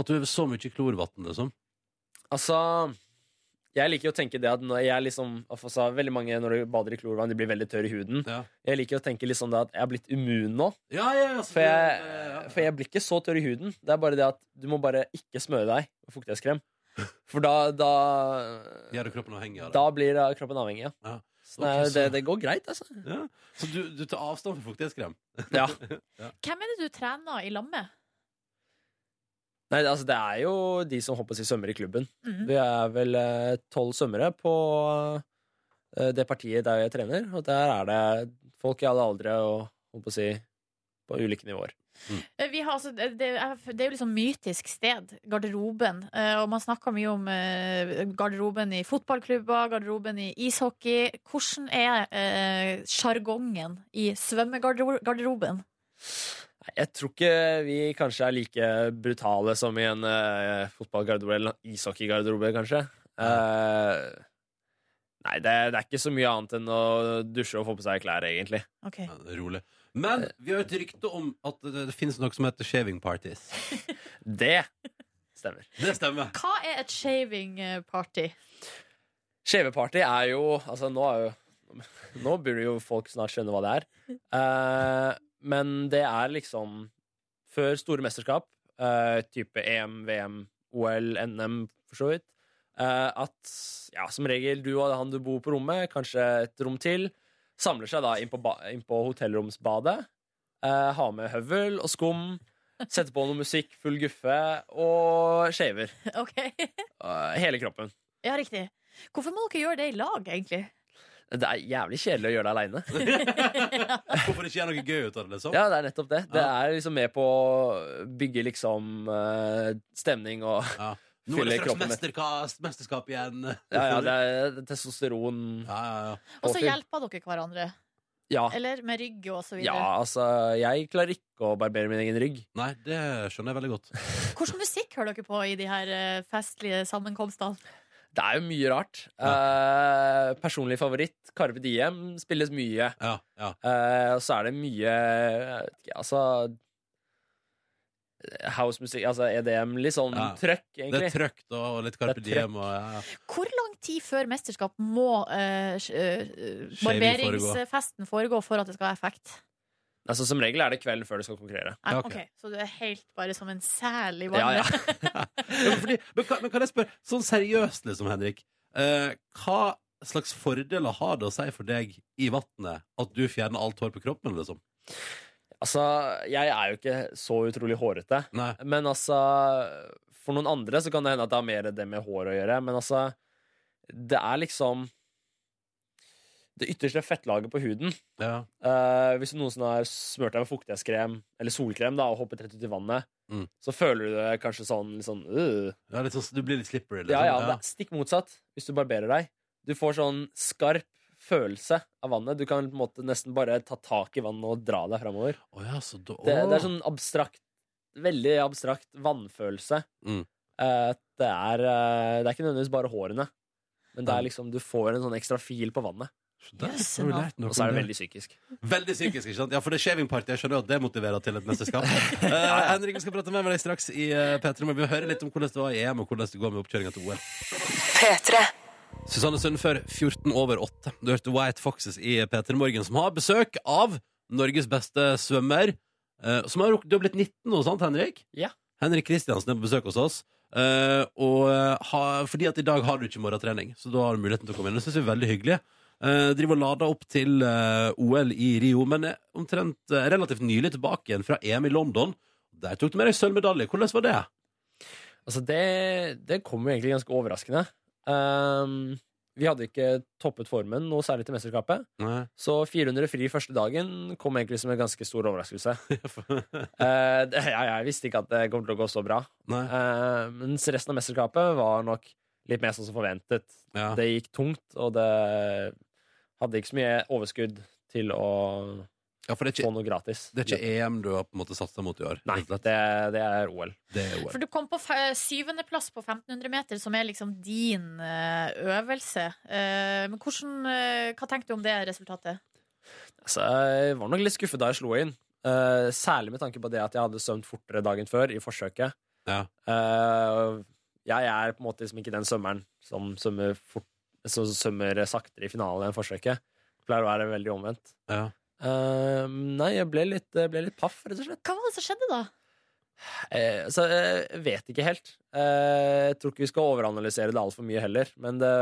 At du er så mye klorvann, liksom? Altså jeg liker jo å tenke det at når jeg liksom altså, Veldig mange når du bader i klorvann, de blir veldig tørre i huden. Ja. Jeg liker å tenke litt sånn det at jeg er blitt immun nå. Ja, ja, ja, så For du- jeg, ja. for jeg blir ikke så tørr i huden. Det er bare det at du må bare ikke smøre deg med fuktighetskrem. For da da, Gjør det kroppen avhengig av det? da blir da kroppen avhengig, ja. Ja. Så det, Ok, er- så- det, det går greit, altså. Ja. Så du, du tar avstand fra fuktighetskrem? Ja. Hvem er det du trener i lag med? Nei, altså, det er jo de som håper å si svømmer i klubben. Mhm. Vi er vel eh, tolv svømmere på eh, det partiet der jeg trener, og der er det folk i alle aldre og håper å si på ulike nivåer. Eh, Vi har, altså, det, det er det er jo liksom mytisk sted, garderoben. Eh, Og man snakker mye om eh, garderoben i fotballklubber, garderoben i ishockey. Hvordan er eh, sjargongen i svømmegarderoben? Nei, Jeg tror ikke vi kanskje er like brutale som i en eh, fotballgarderobe eller en ishockeygarderobe, kanskje. Eh, nei, det, det er ikke så mye annet enn å dusje og få på seg klær, egentlig. Ok. Ja, det er rolig. Men vi har et rykte om at det, det finnes noe som heter shaving parties. Det stemmer. Det stemmer. Hva er et shaving eh, party? Skjeveparty er jo Altså, nå er jo Nå burde jo folk snart skjønne hva det er. Eh, men det er liksom Før store mesterskap, eh, type EM, VM, OL, NM, for så vidt, eh, at ja, som regel du og han du bor på rommet, kanskje et rom til, samler seg da inn på, ba- inn på hotellromsbadet, eh, har med høvel og skum, setter på noe musikk, full guffe, og shaver. Ok, eh, hele kroppen. Ja, riktig. Hvorfor må dere gjøre det i lag, egentlig? Det er jævlig kjedelig å gjøre det aleine. Hvorfor ikke gjøre noe gøy ut av det, liksom? Ja, det er nettopp det. Det Ja. er liksom med på å bygge liksom eh, stemning og Ja. Nå er det Fyller straks kroppen med- mesterka- mesterskap igjen. Ja, ja, det er testosteron ja, ja, ja. Og så fyll. hjelper dere hverandre. Ja. Eller med rygg og så Ah. ja, videre. altså, jeg klarer ikke å barbere min egen rygg. Nei, det skjønner jeg veldig godt. Hvordan musikk hører dere på i de her eh, festlige sammenkomstene? Det er jo mye rart. Eh, personlig favoritt, Karve Diem, spilles mye. Ja, ja. Eh, og så er det mye jeg vet ikke, Altså housemusikk Altså E EDM, litt sånn Ja. trøkk, Det egentlig. er trøkt da, og litt Carpe Det er trøkk. Diem. Og, ja. ja. Hvor lang tid før mesterskap må eh, sj- eh, barberingsfesten foregå for at det skal ha effekt? Altså, som regel er det kvelden før du skal konkurrere. Nei, Ja, ok, ok. Så du er helt bare som en sel i Ja, ja. vannet? Ja, men, fordi, men, kan, men kan jeg spørre, sånn seriøst liksom, Henrik, eh, hva slags fordeler har det å si for deg i vannet at du fjerner alt hår på kroppen, liksom? Altså, jeg er jo ikke så utrolig hårete. Nei. Men altså For noen andre så kan det hende at det har mer det med hår å gjøre, men altså Det er liksom Det ytterste fettlaget på huden. Ja. Eh, hvis du noensinne har smurt deg med fuktighetskrem eller solkrem da, og hoppet rett ut i vannet, Mm. så føler du det kanskje sånn litt sånn øh. Ja, litt sånn, du blir litt slippery, liksom. Ja, ja, men det er stikk motsatt hvis du barberer deg. Du får sånn skarp følelse av vannet. Du kan på en måte nesten bare ta tak i vannet og dra deg framover. Å ja, så da, Det, det Å. er sånn abstrakt Veldig abstrakt vannfølelse. Mm. Eh, det, er, eh, det er ikke nødvendigvis bare hårene, men det Ja. er liksom, du får en sånn ekstra fil på vannet. Så der Jøss, har vi da. lært noe Og så er om det veldig psykisk. Veldig psykisk, ikke sant? Ja, for det er shaving party. Jeg skjønner jo at det motiverer til et mesterskap. Eh, Henrik, vi skal prate mer med deg straks i eh, P3 Morgen. Vi hører litt om hvordan det var i EM, og hvordan det går med oppkjøringa til OL. P3. Susanne Sundfør, 14 over 8. Du hørte White Foxes i P3 Morgen, som har besøk av Norges beste svømmer. eh, Som har, rukket- du har blitt 19 nå, sant, Henrik? Ja. Henrik Kristiansen er på besøk hos oss. eh, og eh, ha, fordi at i dag har du ikke morgentrening, så da har du muligheten til å komme inn. Det syns vi er veldig hyggelig. Eh, driver og lader opp til eh, OL i Rio, men er omtrent eh, relativt nylig tilbake igjen fra EM i London. Der tok du med deg sølvmedalje. Hvordan var det? Altså, det, det kom jo egentlig ganske overraskende. Ehm, vi hadde ikke toppet formen noe særlig til mesterskapet, så 400 fri første dagen kom egentlig som en ganske stor overraskelse. Eh, det, ja, jeg visste ikke at det kom til å gå så bra. Nei. Eh, mens resten av mesterskapet var nok litt mer sånn som forventet. Ja. Det gikk tungt, og det hadde ikke så mye overskudd til å ja, for det er få ikke, noe gratis. det er ikke EM du har på en måte satsa mot i år? Nei, rett og slett. det, det er OL. Det er OL. For du kom på fe- syvendeplass på 1500 meter, som er liksom din eh, øvelse. Eh, men hvordan, eh, hva tenkte du om det resultatet? Så jeg var nok litt skuffet da jeg slo inn. Eh, særlig med tanke på det at jeg hadde svømt fortere dagen før i forsøket. Ja. Eh, jeg er på en måte liksom ikke den svømmeren som svømmer, fort, som svømmer saktere i finalen enn forsøket. Det pleier å være veldig omvendt. Ja. Eh, nei, jeg ble litt, jeg ble litt paff, rett og slett. Hva var det som skjedde da? Eh, så eh, jeg vet ikke helt. Eh, jeg tror ikke vi skal overanalysere det altfor mye heller. Men det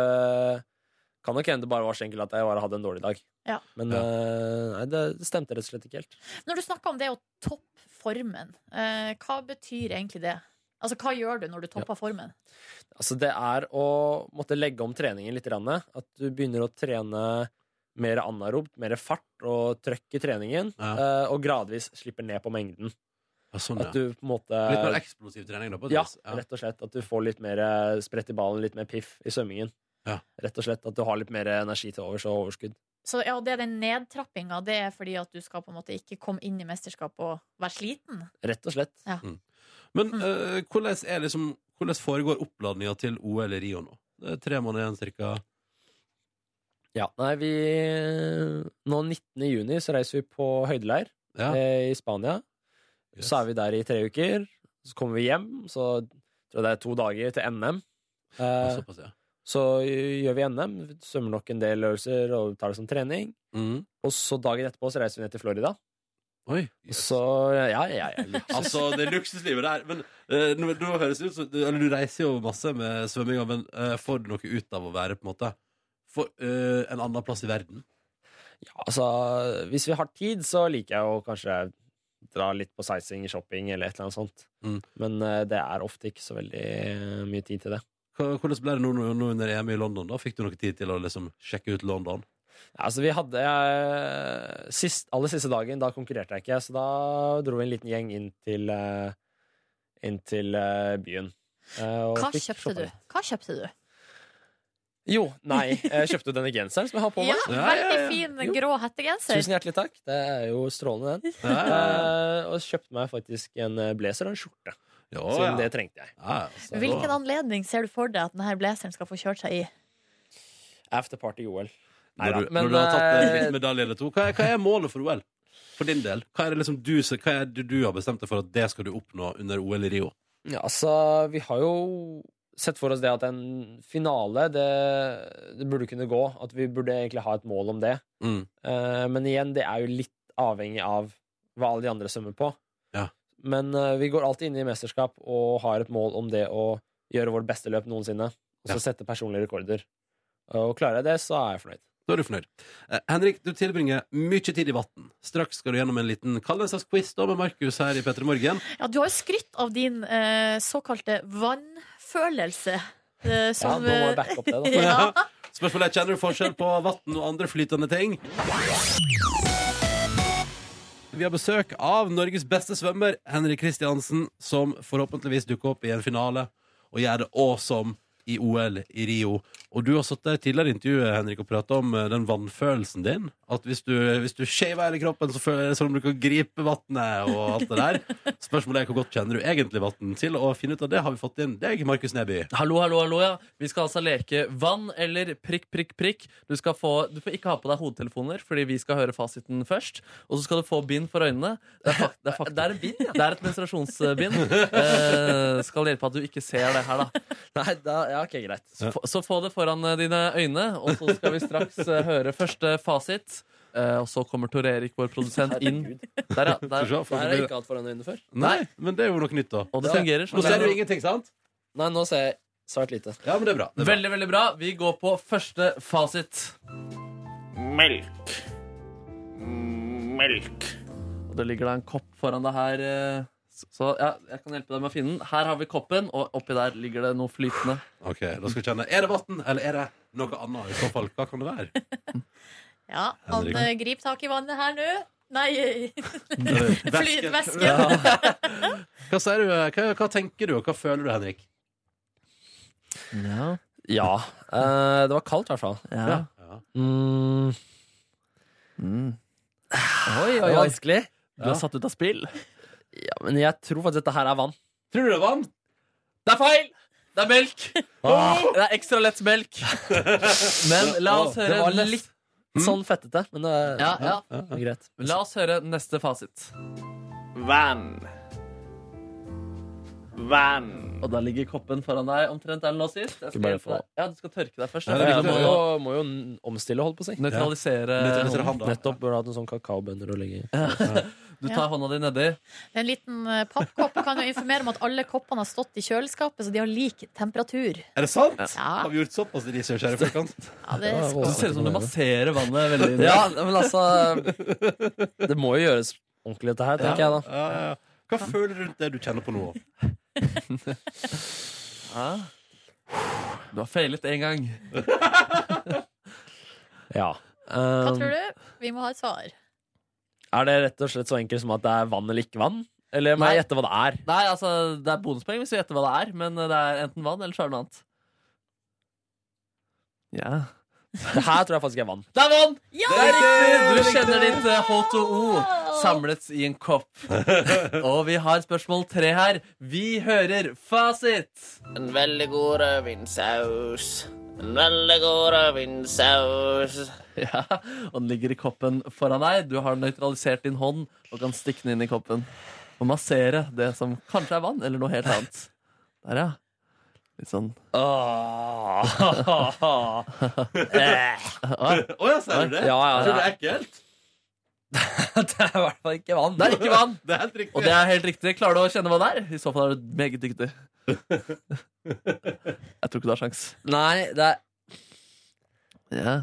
kan nok hende det bare var så enkelt at jeg bare hadde en dårlig dag. Ja. Men Ja. eh, nei, det stemte rett og slett ikke helt. Når du snakker om det å toppe formen, eh, hva betyr egentlig det? Altså, hva gjør du når du topper formen? Altså, det er å måtte legge om treningen litt. grann. At du begynner å trene mer anaerobt, mer fart og trøkk i treningen. eh, Og gradvis slipper ned på mengden. Ja, sånn, ja. At du på en måte Litt mer eksplosiv trening, da. På et Ja, vis. rett og slett. At du får litt mer eh, spredt i ballen, litt mer piff i svømmingen. Ja. Rett og slett At du har litt mer energi til overs og overskudd. Så ja, det er den nedtrappinga, det er fordi at du skal på en måte ikke komme inn i mesterskapet og være sliten? Rett og slett. Men mm. eh, hvordan, er liksom, hvordan foregår oppladninga til OL i Rio nå? Det er tre måneder igjen, cirka. Ja. Nei, vi eh, Nå 19. juni så reiser vi på høydeleir Ja. eh, i Spania. Så er vi der i tre uker. Så kommer vi hjem, så tror jeg det er to dager til NM. Ja, Eh, Såpass, ja. så gjør vi NM, svømmer nok en del øvelser og tar det som trening. Mm. Og så dagen etterpå så reiser vi ned til Florida. Oi. Og Så ja, ja, ja. Altså, det er luksuslivet der. Men eh, nå, nå høres det ut som du, Eller du reiser jo masse med svømminga, men eh, får du noe ut av å være på en måte for, eh, en annen plass i verden? ja. Altså, hvis vi har tid, så liker jeg å kanskje dra litt på sightseeing, shopping eller et eller annet sånt. Mm. Men eh, det er ofte ikke så veldig eh, mye tid til det. Hva- Hvordan ble det nå, nå, nå under EM i London? da? Fikk du noe tid til å liksom sjekke ut London? Ja, altså vi hadde eh, sist, Aller siste dagen, da konkurrerte jeg ikke, så da dro vi en liten gjeng inn til, eh, inn til eh, byen. Eh, og Hva fikk kjøpte du? shoppa litt. Hva kjøpte du? Jo, nei. Jeg kjøpte denne genseren som jeg har på Ja, meg. Ja, ja, veldig ja. fin Jo. grå hettegenser. Tusen hjertelig takk. Det er jo strålende, den. Ja, ja, ja. Eh, og kjøpte meg faktisk en eh, blazer og en skjorte, Ja, siden ja. det trengte jeg. Ja, altså, Hvilken anledning ser du for deg at denne blazeren skal få kjørt seg i? After party OL. Neida, Når du, men, når du har tatt en eh, liten medalje eller to, hva er, hva er målet for OL? for din del, hva er det liksom du, hva er det du har bestemt deg for at det skal du oppnå under OL i Rio? Ja, altså, vi har jo sett for oss det at en finale, det, det burde kunne gå. At vi burde egentlig ha et mål om det. Mm. Eh, men igjen, det er jo litt avhengig av hva alle de andre svømmer på. Ja. Men eh, vi går alltid inn i mesterskap og har et mål om det å gjøre vårt beste løp noensinne. Og så Ja. sette personlige rekorder. Og klarer jeg det, så er jeg fornøyd. Da er du fornøyd. Eh, Henrik, du tilbringer mye tid i vann. Straks skal du gjennom en liten kall det en slags quiz da med Markus her i Petter Morgen. Ja, du har jo skrytt av din eh, såkalte vannfølelse. eh, Ja, som, da må eh, jeg backe opp det, da. Ja. Spørsmålet er kjenner du forskjell på vann og andre flytende ting. Vi har besøk av Norges beste svømmer, Henrik Kristiansen, som forhåpentligvis dukker opp i en finale og gjør det awesome i OL i Rio. Og du har satt der tidligere i intervjuet Henrik, og pratet om eh, den vannfølelsen din. At hvis du, hvis du shaver hele kroppen, så føler det som om du kan gripe vannet og alt det der. Spørsmålet er hvor godt kjenner du egentlig vann til, og å finne ut av det har vi fått inn deg, Markus Neby. Hallo, hallo, hallo, ja. Vi skal altså leke vann eller prikk, prikk, prikk. Du, skal få, du får ikke ha på deg hodetelefoner, fordi vi skal høre fasiten først. Og så skal du få bind for øynene. Det er, fak- det er, fak- det er en bind, ja. Det er et menstruasjonsbind. Eh, skal hjelpe at du ikke ser det her, da. Nei, da, ja, ok, greit. Så, få- så få det foran eh, dine øyne, og så skal vi straks eh, høre første fasit. Eh, og så kommer Tor Erik, vår produsent, inn. Der, ja. Der. Skal vi se, får Der vi har jeg bli- ikke hatt foran øynene før. Nei, men det er jo noe nytt, da. Og det fungerer. Nå ser du ingenting, sant? Nei, nå ser jeg svært lite. Ja, men det er bra. Det er bra. Veldig, veldig bra. Vi går på første fasit. Melk. Melk. Og det ligger da en kopp foran deg her. eh, Så så, ja, jeg kan hjelpe deg med å finne den. Her har vi koppen, og oppi der ligger det noe flytende. Ok, da skal vi kjenne Er det vann, eller er det noe annet? I så fall, hva kan det være? ja, Anne, grip tak i vannet her nå. Nei, Væske. flytvæsken. Hva sier du? Hva, hva tenker du, og hva føler du, Henrik? Ja, Ja. eh, det var kaldt, i hvert fall. ja. Ja. Mm, Oi, det oi, var oi. vanskelig. Du er satt ut av spill. Ja, men jeg tror faktisk dette her er vann. Tror du det er vann? Det er feil! Det er melk. Ah. Det er ekstra lett melk. Men la oss Åh, høre det var nest- litt Mm. Sånn fettete, men det er ja, ja. det er greit. La oss høre neste fasit. Vann. Vann. Og der ligger koppen foran deg omtrent der den lå sist. Jeg skal Ikke bare hjelpe få- deg. Ja, du skal tørke deg først. Ja, Ja, det ja, Du er du viktig. må må jo, jo må jo omstille, holdt på å si. Nøytralisere nøytralisere. hånda. Nettopp. Burde hatt noen sånn kakaobønner å legge i. Du tar hånda di nedi. En liten eh, pappkopp kan jo informere om at alle koppene har stått i kjøleskapet, så de har lik temperatur. Er det sant? Ja. Har vi gjort såpass research her i forkant? Ja, det Ja, skal Du ser ut som du masserer vannet veldig inn. Ja, men altså Det må jo gjøres ordentlig, dette her, tenker jeg da. Ja, ja, ja. Hva føler du rundt det du kjenner på nå? Ja. Du har feilet én gang. Ja. Um, Hva tror du? Vi må ha et svar. Er det rett og slett så enkelt som at det er vann eller ikke vann? Eller må jeg Nei. gjette hva det er? Nei, altså, Det er bonuspoeng hvis vi gjetter hva det er, men eh, det er enten vann eller så er det noe annet. Ja Det her tror jeg faktisk er vann. Det er vann! Ja! Det er riktig! Du kjenner ditt eh, H2O samlet i en kopp. Og vi har spørsmål tre her. Vi hører fasit. En veldig god rødvinsaus. En veldig god rødvinsaus. Ja, Og den ligger i koppen foran deg. Du har nøytralisert din hånd og kan stikke den inn i koppen. Og massere det som kanskje er vann, eller noe helt annet. Der, ja. Litt sånn Ah. Å ja, sier du det? Ja, ja, Tror du det er ekkelt? Det er i hvert fall ikke vann. Det er ikke vann! Det er helt Og riktig. det er helt riktig. Klarer du å kjenne hva det er? I så fall er du meget dyktig. Jeg tror ikke du har sjans. Nei, det er Ja.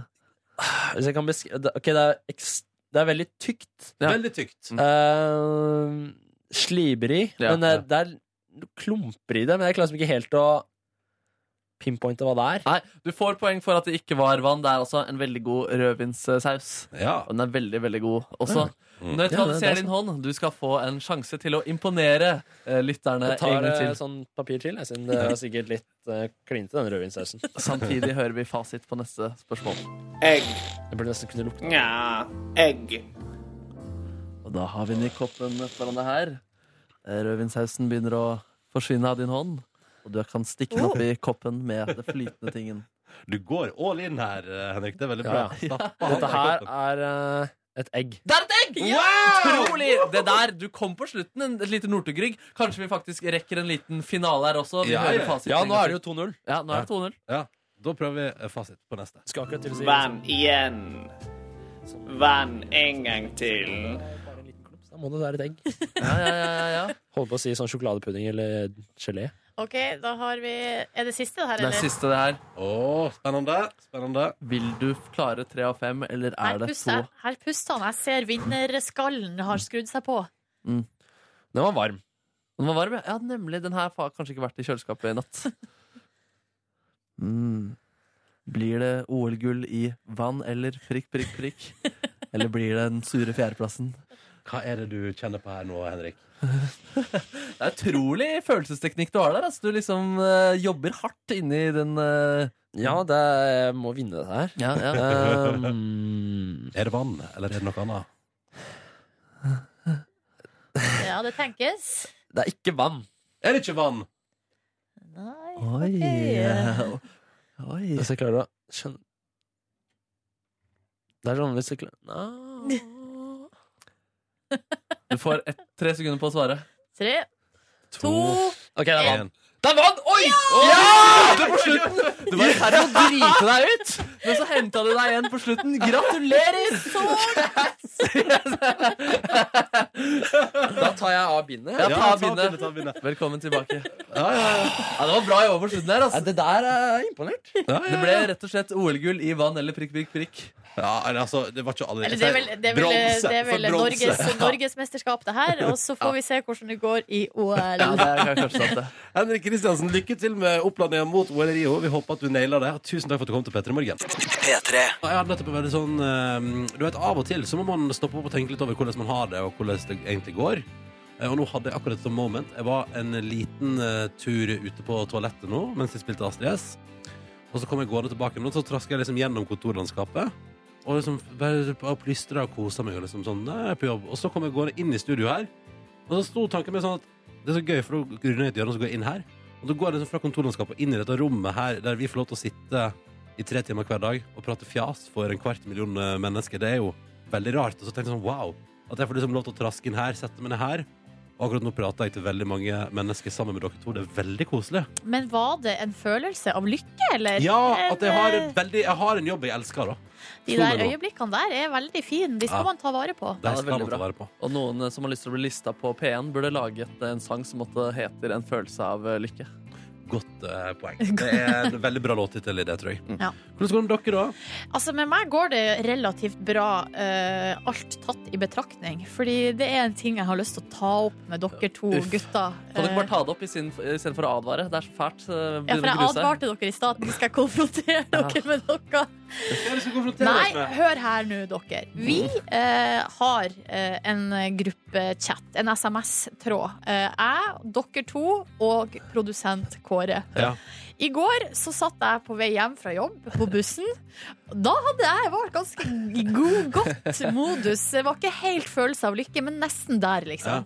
Hvis jeg kan beskrive det, Ok, det er, ekst- det er veldig tykt. Veldig tykt. Mm. Eh, slibrig. Ja, men eh, ja. det er noe klumper i det. Men jeg klarer liksom ikke helt å pinpointe hva det er. Nei, du får poeng for at det ikke var vann. Det er altså en veldig god rødvinssaus. Ja. Og den er veldig, veldig god også. Mm. Ja, det er Nøytraliser sant. din hånd. Du skal få en sjanse til å imponere eh, lytterne Jeg tar en gang eh, til. sånn papir til, jeg, siden det var sikkert litt eh, klinete, den rødvinssausen. Samtidig hører vi fasit på neste spørsmål. Egg. Jeg burde nesten kunne lukte Nja, egg. Og da har vi den i koppen foran deg her. Eh, Rødvinssausen begynner å forsvinne av din hånd. Og du kan stikke den opp i koppen med det flytende tingen. Du går all in her, Henrik. Det er veldig bra. Ja, Dette her er eh, Et egg. Det er et egg! Ja! Utrolig! Det der, Du kom på slutten, en, et lite Northug-rygg. Kanskje vi faktisk rekker en liten finale her også. Vi Ja, hører ja. fasiten Ja, en nå gang er det til. Ja, nå er det 2-0. Ja, Da prøver vi eh, fasit på neste. Skal akkurat til å si Vann igjen. Vann en gang til. Da må det være et egg. Ja, ja, ja, ja, ja. Holder på å si sånn sjokoladepudding eller gelé. OK, da har vi Er det siste, det her, Det er eller? siste, det her. Å, spennende. Spennende. Vil du klare tre av fem, eller er Her det puster, to? jeg. her puster han. Jeg ser vinnerskallen har skrudd seg på. Den var varm. Den var varm, ja. ja. Nemlig. Den her har kanskje ikke vært i kjøleskapet i natt. Mm. Blir det OL-gull i vann eller prikk, prikk, prikk? Eller blir det den sure fjerdeplassen? Hva er det du kjenner på her nå, Henrik? Det er utrolig følelsesteknikk du har der. Altså. Du liksom eh, jobber hardt inni den eh, Ja, det jeg må vinne dette her. Ja, ja. Um, Er det vann, eller er det noe annet? Ja, det tenkes. det er ikke vann. Er det ikke vann? Nei, Oi. ok. Oi. Hvis jeg klarer å skjønne Det er sånn hvis jeg klarer Nå. Du får ett, tre sekunder på å svare. Tre, to OK, det er vann. en. Det er vann! Oi! Du er på slutten! Du var i ferd med å drite deg ut, men så henta du deg igjen på slutten. Gratulerer! Da tar jeg av bindet. Ja, ta bindet, bindet. ta bindet. Velkommen tilbake. Ja, det var bra jobba på slutten der. Ja, Altså. det der er imponert. Ja, Det ble rett og slett OL-gull i vann eller prikk, prikk, prikk. ja, eller altså, det var ikke alle Eller det er vel, det er vel, det er vel Norges, Norgesmesterskap, det her. Og så får vi se hvordan det går i OL. Ja, det er kanskje sant, det. Henrik Kristiansen, lykke til med oppladninga mot OL i Rio. Vi håper at du nailer det. Tusen takk for at du kom til Petter i morgen. Jeg hadde nettopp vært sånn eh, Du vet, Av og til så må man stoppe opp og tenke litt over hvordan man har det, og hvordan det egentlig går. Eh, Og nå hadde jeg akkurat et sånt moment. Jeg var en liten eh, tur ute på toalettet nå mens jeg spilte Astrid S. Og så kom jeg gående tilbake, og så traska jeg liksom gjennom kontorlandskapet. Og liksom bare bare plystra og kosa meg. Og liksom sånn, nei, jeg er på jobb Og så kom jeg gående inn i studio her, og så sto tanken min sånn at det er så gøy, for da runder jeg et hjørne, og så går jeg inn her. Og da går jeg liksom fra kontorlandskapet og inn i dette rommet her, der vi får lov til å sitte i tre timer hver dag og prate fjas for en kvart million eh, mennesker. Det er jo veldig rart. Og så tenkte jeg sånn, wow, at jeg får liksom lov til å traske inn her, sette meg ned her. Og akkurat nå prater jeg til veldig mange mennesker sammen med dere to. Det er veldig koselig. Men var det en følelse av lykke, eller? Ja, at jeg har, En, en veldig, jeg har en jobb jeg elsker, da. eh, De sånn, der øyeblikkene der er veldig fine. De skal Ja. man ta vare på. Ja, Det det er skal man veldig ta bra. vare på. Og noen eh, som har lyst til å bli lista på P1, burde laget eh, en sang som måtte heter 'En følelse av eh, lykke'. Godt eh, poeng. Det er en veldig bra låttittel i det, tror jeg. Ja. Hvordan går det med dere, da? Altså, Med meg går det relativt bra, eh, alt tatt i betraktning. Fordi det er en ting jeg har lyst til å ta opp med dere to Uff. gutter. Kan dere bare Eh, ta det opp istedenfor å advare? Det er så fælt. eh, ja, for begynner å jeg grue seg. advarte dere i stad at vi skal konfrontere dere med noe. Nei, hør her nå, dere. Vi eh, har eh, en gruppechat, en SMS-tråd. Eh, jeg, dere to og produsent Kåre. Ja. I går så satt jeg på vei hjem fra jobb på bussen. Da hadde jeg vært ganske i god, godt modus. Det var ikke helt følelse av lykke, men nesten der, liksom.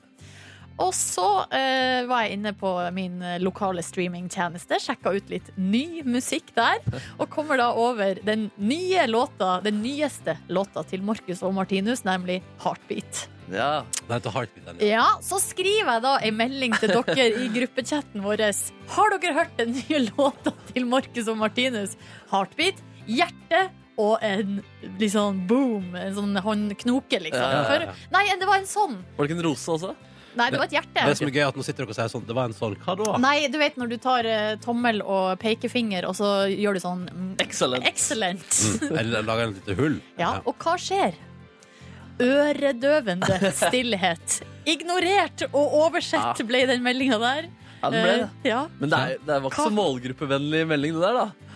Og så eh, var jeg inne på min eh, lokale streamingtjeneste, sjekka ut litt ny musikk der, og kommer da over den nye låta, den nyeste låta til Markus og Martinus, nemlig Heartbeat. Ja. Den heter Heartbeat. Den, ja. Ja, så skriver jeg da ei melding til dere i gruppechatten vår. Har dere hørt den nye låta til Markus og Martinus? Heartbeat, hjerte og en litt sånn boom, en sånn håndknoke, liksom. Ja, ja, ja. For, nei, det var en sånn. Var det ikke en rose også? Nei, det var et hjerte. Det som er gøy, er at nå sitter dere og sier sånn Det var en sånn Hva da? Nei, du vet når du tar eh, tommel og pekefinger, og så gjør du sånn mm, Excellent. Excellent. Mm. Eller lager en lite hull? Ja, og hva skjer? Øredøvende stillhet. Ignorert og oversett ble den meldinga der. Ja, den ble det. Eh, ja. Men det, er, det var ikke så Hva? målgruppevennlig melding, det der, da.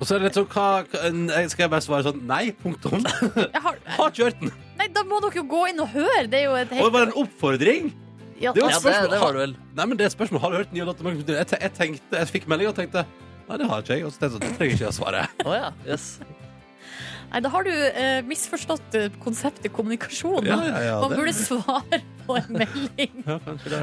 Og så er det litt sånn hva, hva, en- Skal jeg bare svare sånn Nei, punktum. Jeg har, Har ikke hørt den. nei, da må dere jo gå inn og høre. Det er jo et Og det helt var en oppfordring. ja, det var- Ja, det, det var det vel. Nei, men det er et spørsmål. Har du hørt den nye låta? til Markus Martinus? Jeg, te- jeg tenkte, jeg fikk melding og tenkte Nei, det har ikke jeg. Og så tenkte jeg sånn, det trenger ikke jeg å svare. Å ja. Yes. Nei, da har du eh, misforstått eh, konseptet kommunikasjon. Ja, ja, ja, Man det- burde svare på en melding. Ja,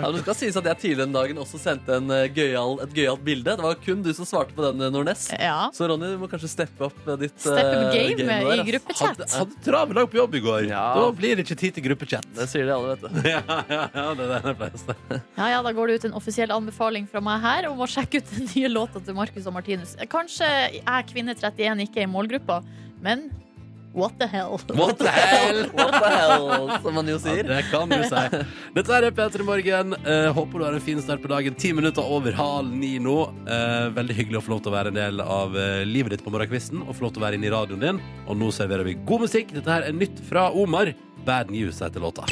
men det skal sies at jeg tidligere den dagen også sendte en eh, gøyal, et gøyalt bilde. Det var kun du som svarte på den, eh, Nordnes. Ja. Så Ronny, du må kanskje steppe opp eh, ditt Steppe up eh, game game der, i ass. gruppechat. Hadde- Hadde travel dag på jobb i går. Da blir det ikke tid til gruppechat. Det sier de alle, vet du. ja, ja, ja, det er det jeg pleier å si. Ja, ja, Da går det ut en offisiell anbefaling fra meg her om å sjekke ut den nye låta til Marcus og Martinus. Kanskje er kvinne 31 ikke i målgruppa, men what the hell? What the hell? What the hell, som man jo sier. Ja, det kan du si. Dette er P3 Morgen. Eh, håper du har en fin start på dagen. Ti minutter over halv ni nå. Eh, veldig hyggelig å få lov til å være en del av eh, livet ditt på morgenkvisten og få lov til å være inne i radioen din. Og nå serverer vi god musikk. Dette her er nytt fra Omar. Bad News heter låta.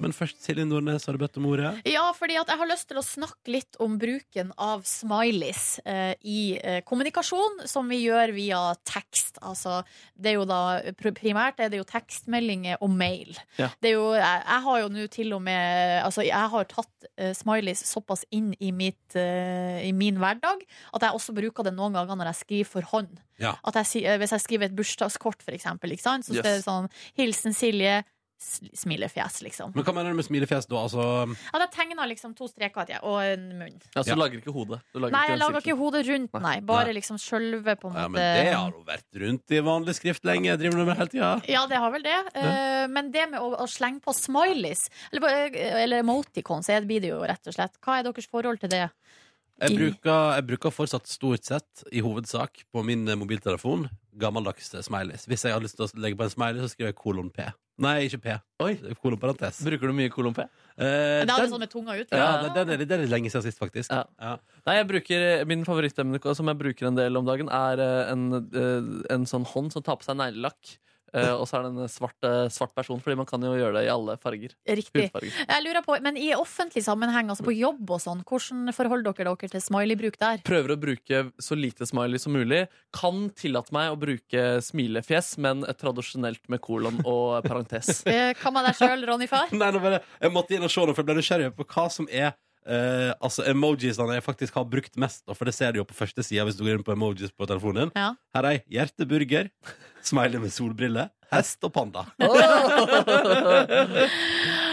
Men først, Silje Nordnes, har du bedt om ordet? Ja, fordi at jeg har lyst til å snakke litt om bruken av smileys eh, i eh, kommunikasjon, som vi gjør via tekst. Altså, det er jo da pr- primært er det jo tekstmeldinger og mail. Ja. Det er jo, jeg, jeg har jo nå til og med Altså, jeg har tatt eh, smileys såpass inn i, mitt, eh, i min hverdag at jeg også bruker det noen ganger når jeg skriver for hånd. Ja. At jeg, si- eh, hvis jeg skriver et bursdagskort, for eksempel, ikke sant? så Yes. står det sånn 'Hilsen Silje', s- smilefjes, liksom. Men hva mener du med smilefjes, da? Altså Ja, da tegna liksom to streker at jeg, og en munn. Ja, så Ja. Altså, du lager ikke hodet. Du lager Nei, ikke jeg en laga sirkel. ikke hodet rundt, nei. Bare Nei. liksom sjølve, på en Ja, men måte. det har hun vært rundt i vanlig skrift lenge. Driver du med hele tida? Ja, det har vel det. Eh, Men det med å, å slenge på smileys, eller, bare- eller emoticons, er- blir det jo rett og slett. Hva er deres forhold til det? Eh, Jeg bruker, jeg bruker fortsatt stort sett, i hovedsak, på min eh, mobiltelefon gammeldags eh, smileys. Hvis jeg har lyst til å legge på en smiley, så skriver jeg kolon P. Nei, ikke P. Kolon parentes. Bruker du mye kolon P? Eh, Det er den, sånn med tunga ut. ja, den, den, er, den er lenge siden sist, faktisk. Ja. Nei, jeg bruker, eh, Min favorittemne som jeg bruker en del om dagen, er eh, en, eh, en sånn hånd som tar på seg neglelakk. Eh, og så er det en svart, eh, svart person, fordi man kan jo gjøre det i alle farger. Riktig. Hudfarger. Jeg lurer på, Men i offentlig sammenheng, altså på jobb og sånn, hvordan forholder dere dere til smiley-bruk der? Prøver å bruke så lite smiley som mulig. Kan tillate meg å bruke smilefjes, men tradisjonelt med kolon og parentes. Eh, Hva med deg sjøl, Ronny Far? Nei, nå bare, jeg måtte inn og se, nå, for jeg ble nysgjerrig på hva som er eh, altså emojiesene jeg faktisk har brukt mest. da, For det ser du jo på første sida hvis du går inn på emojis på telefonen din. Ja. Her er ei hjerteburger, smiley med solbriller, hest og panda.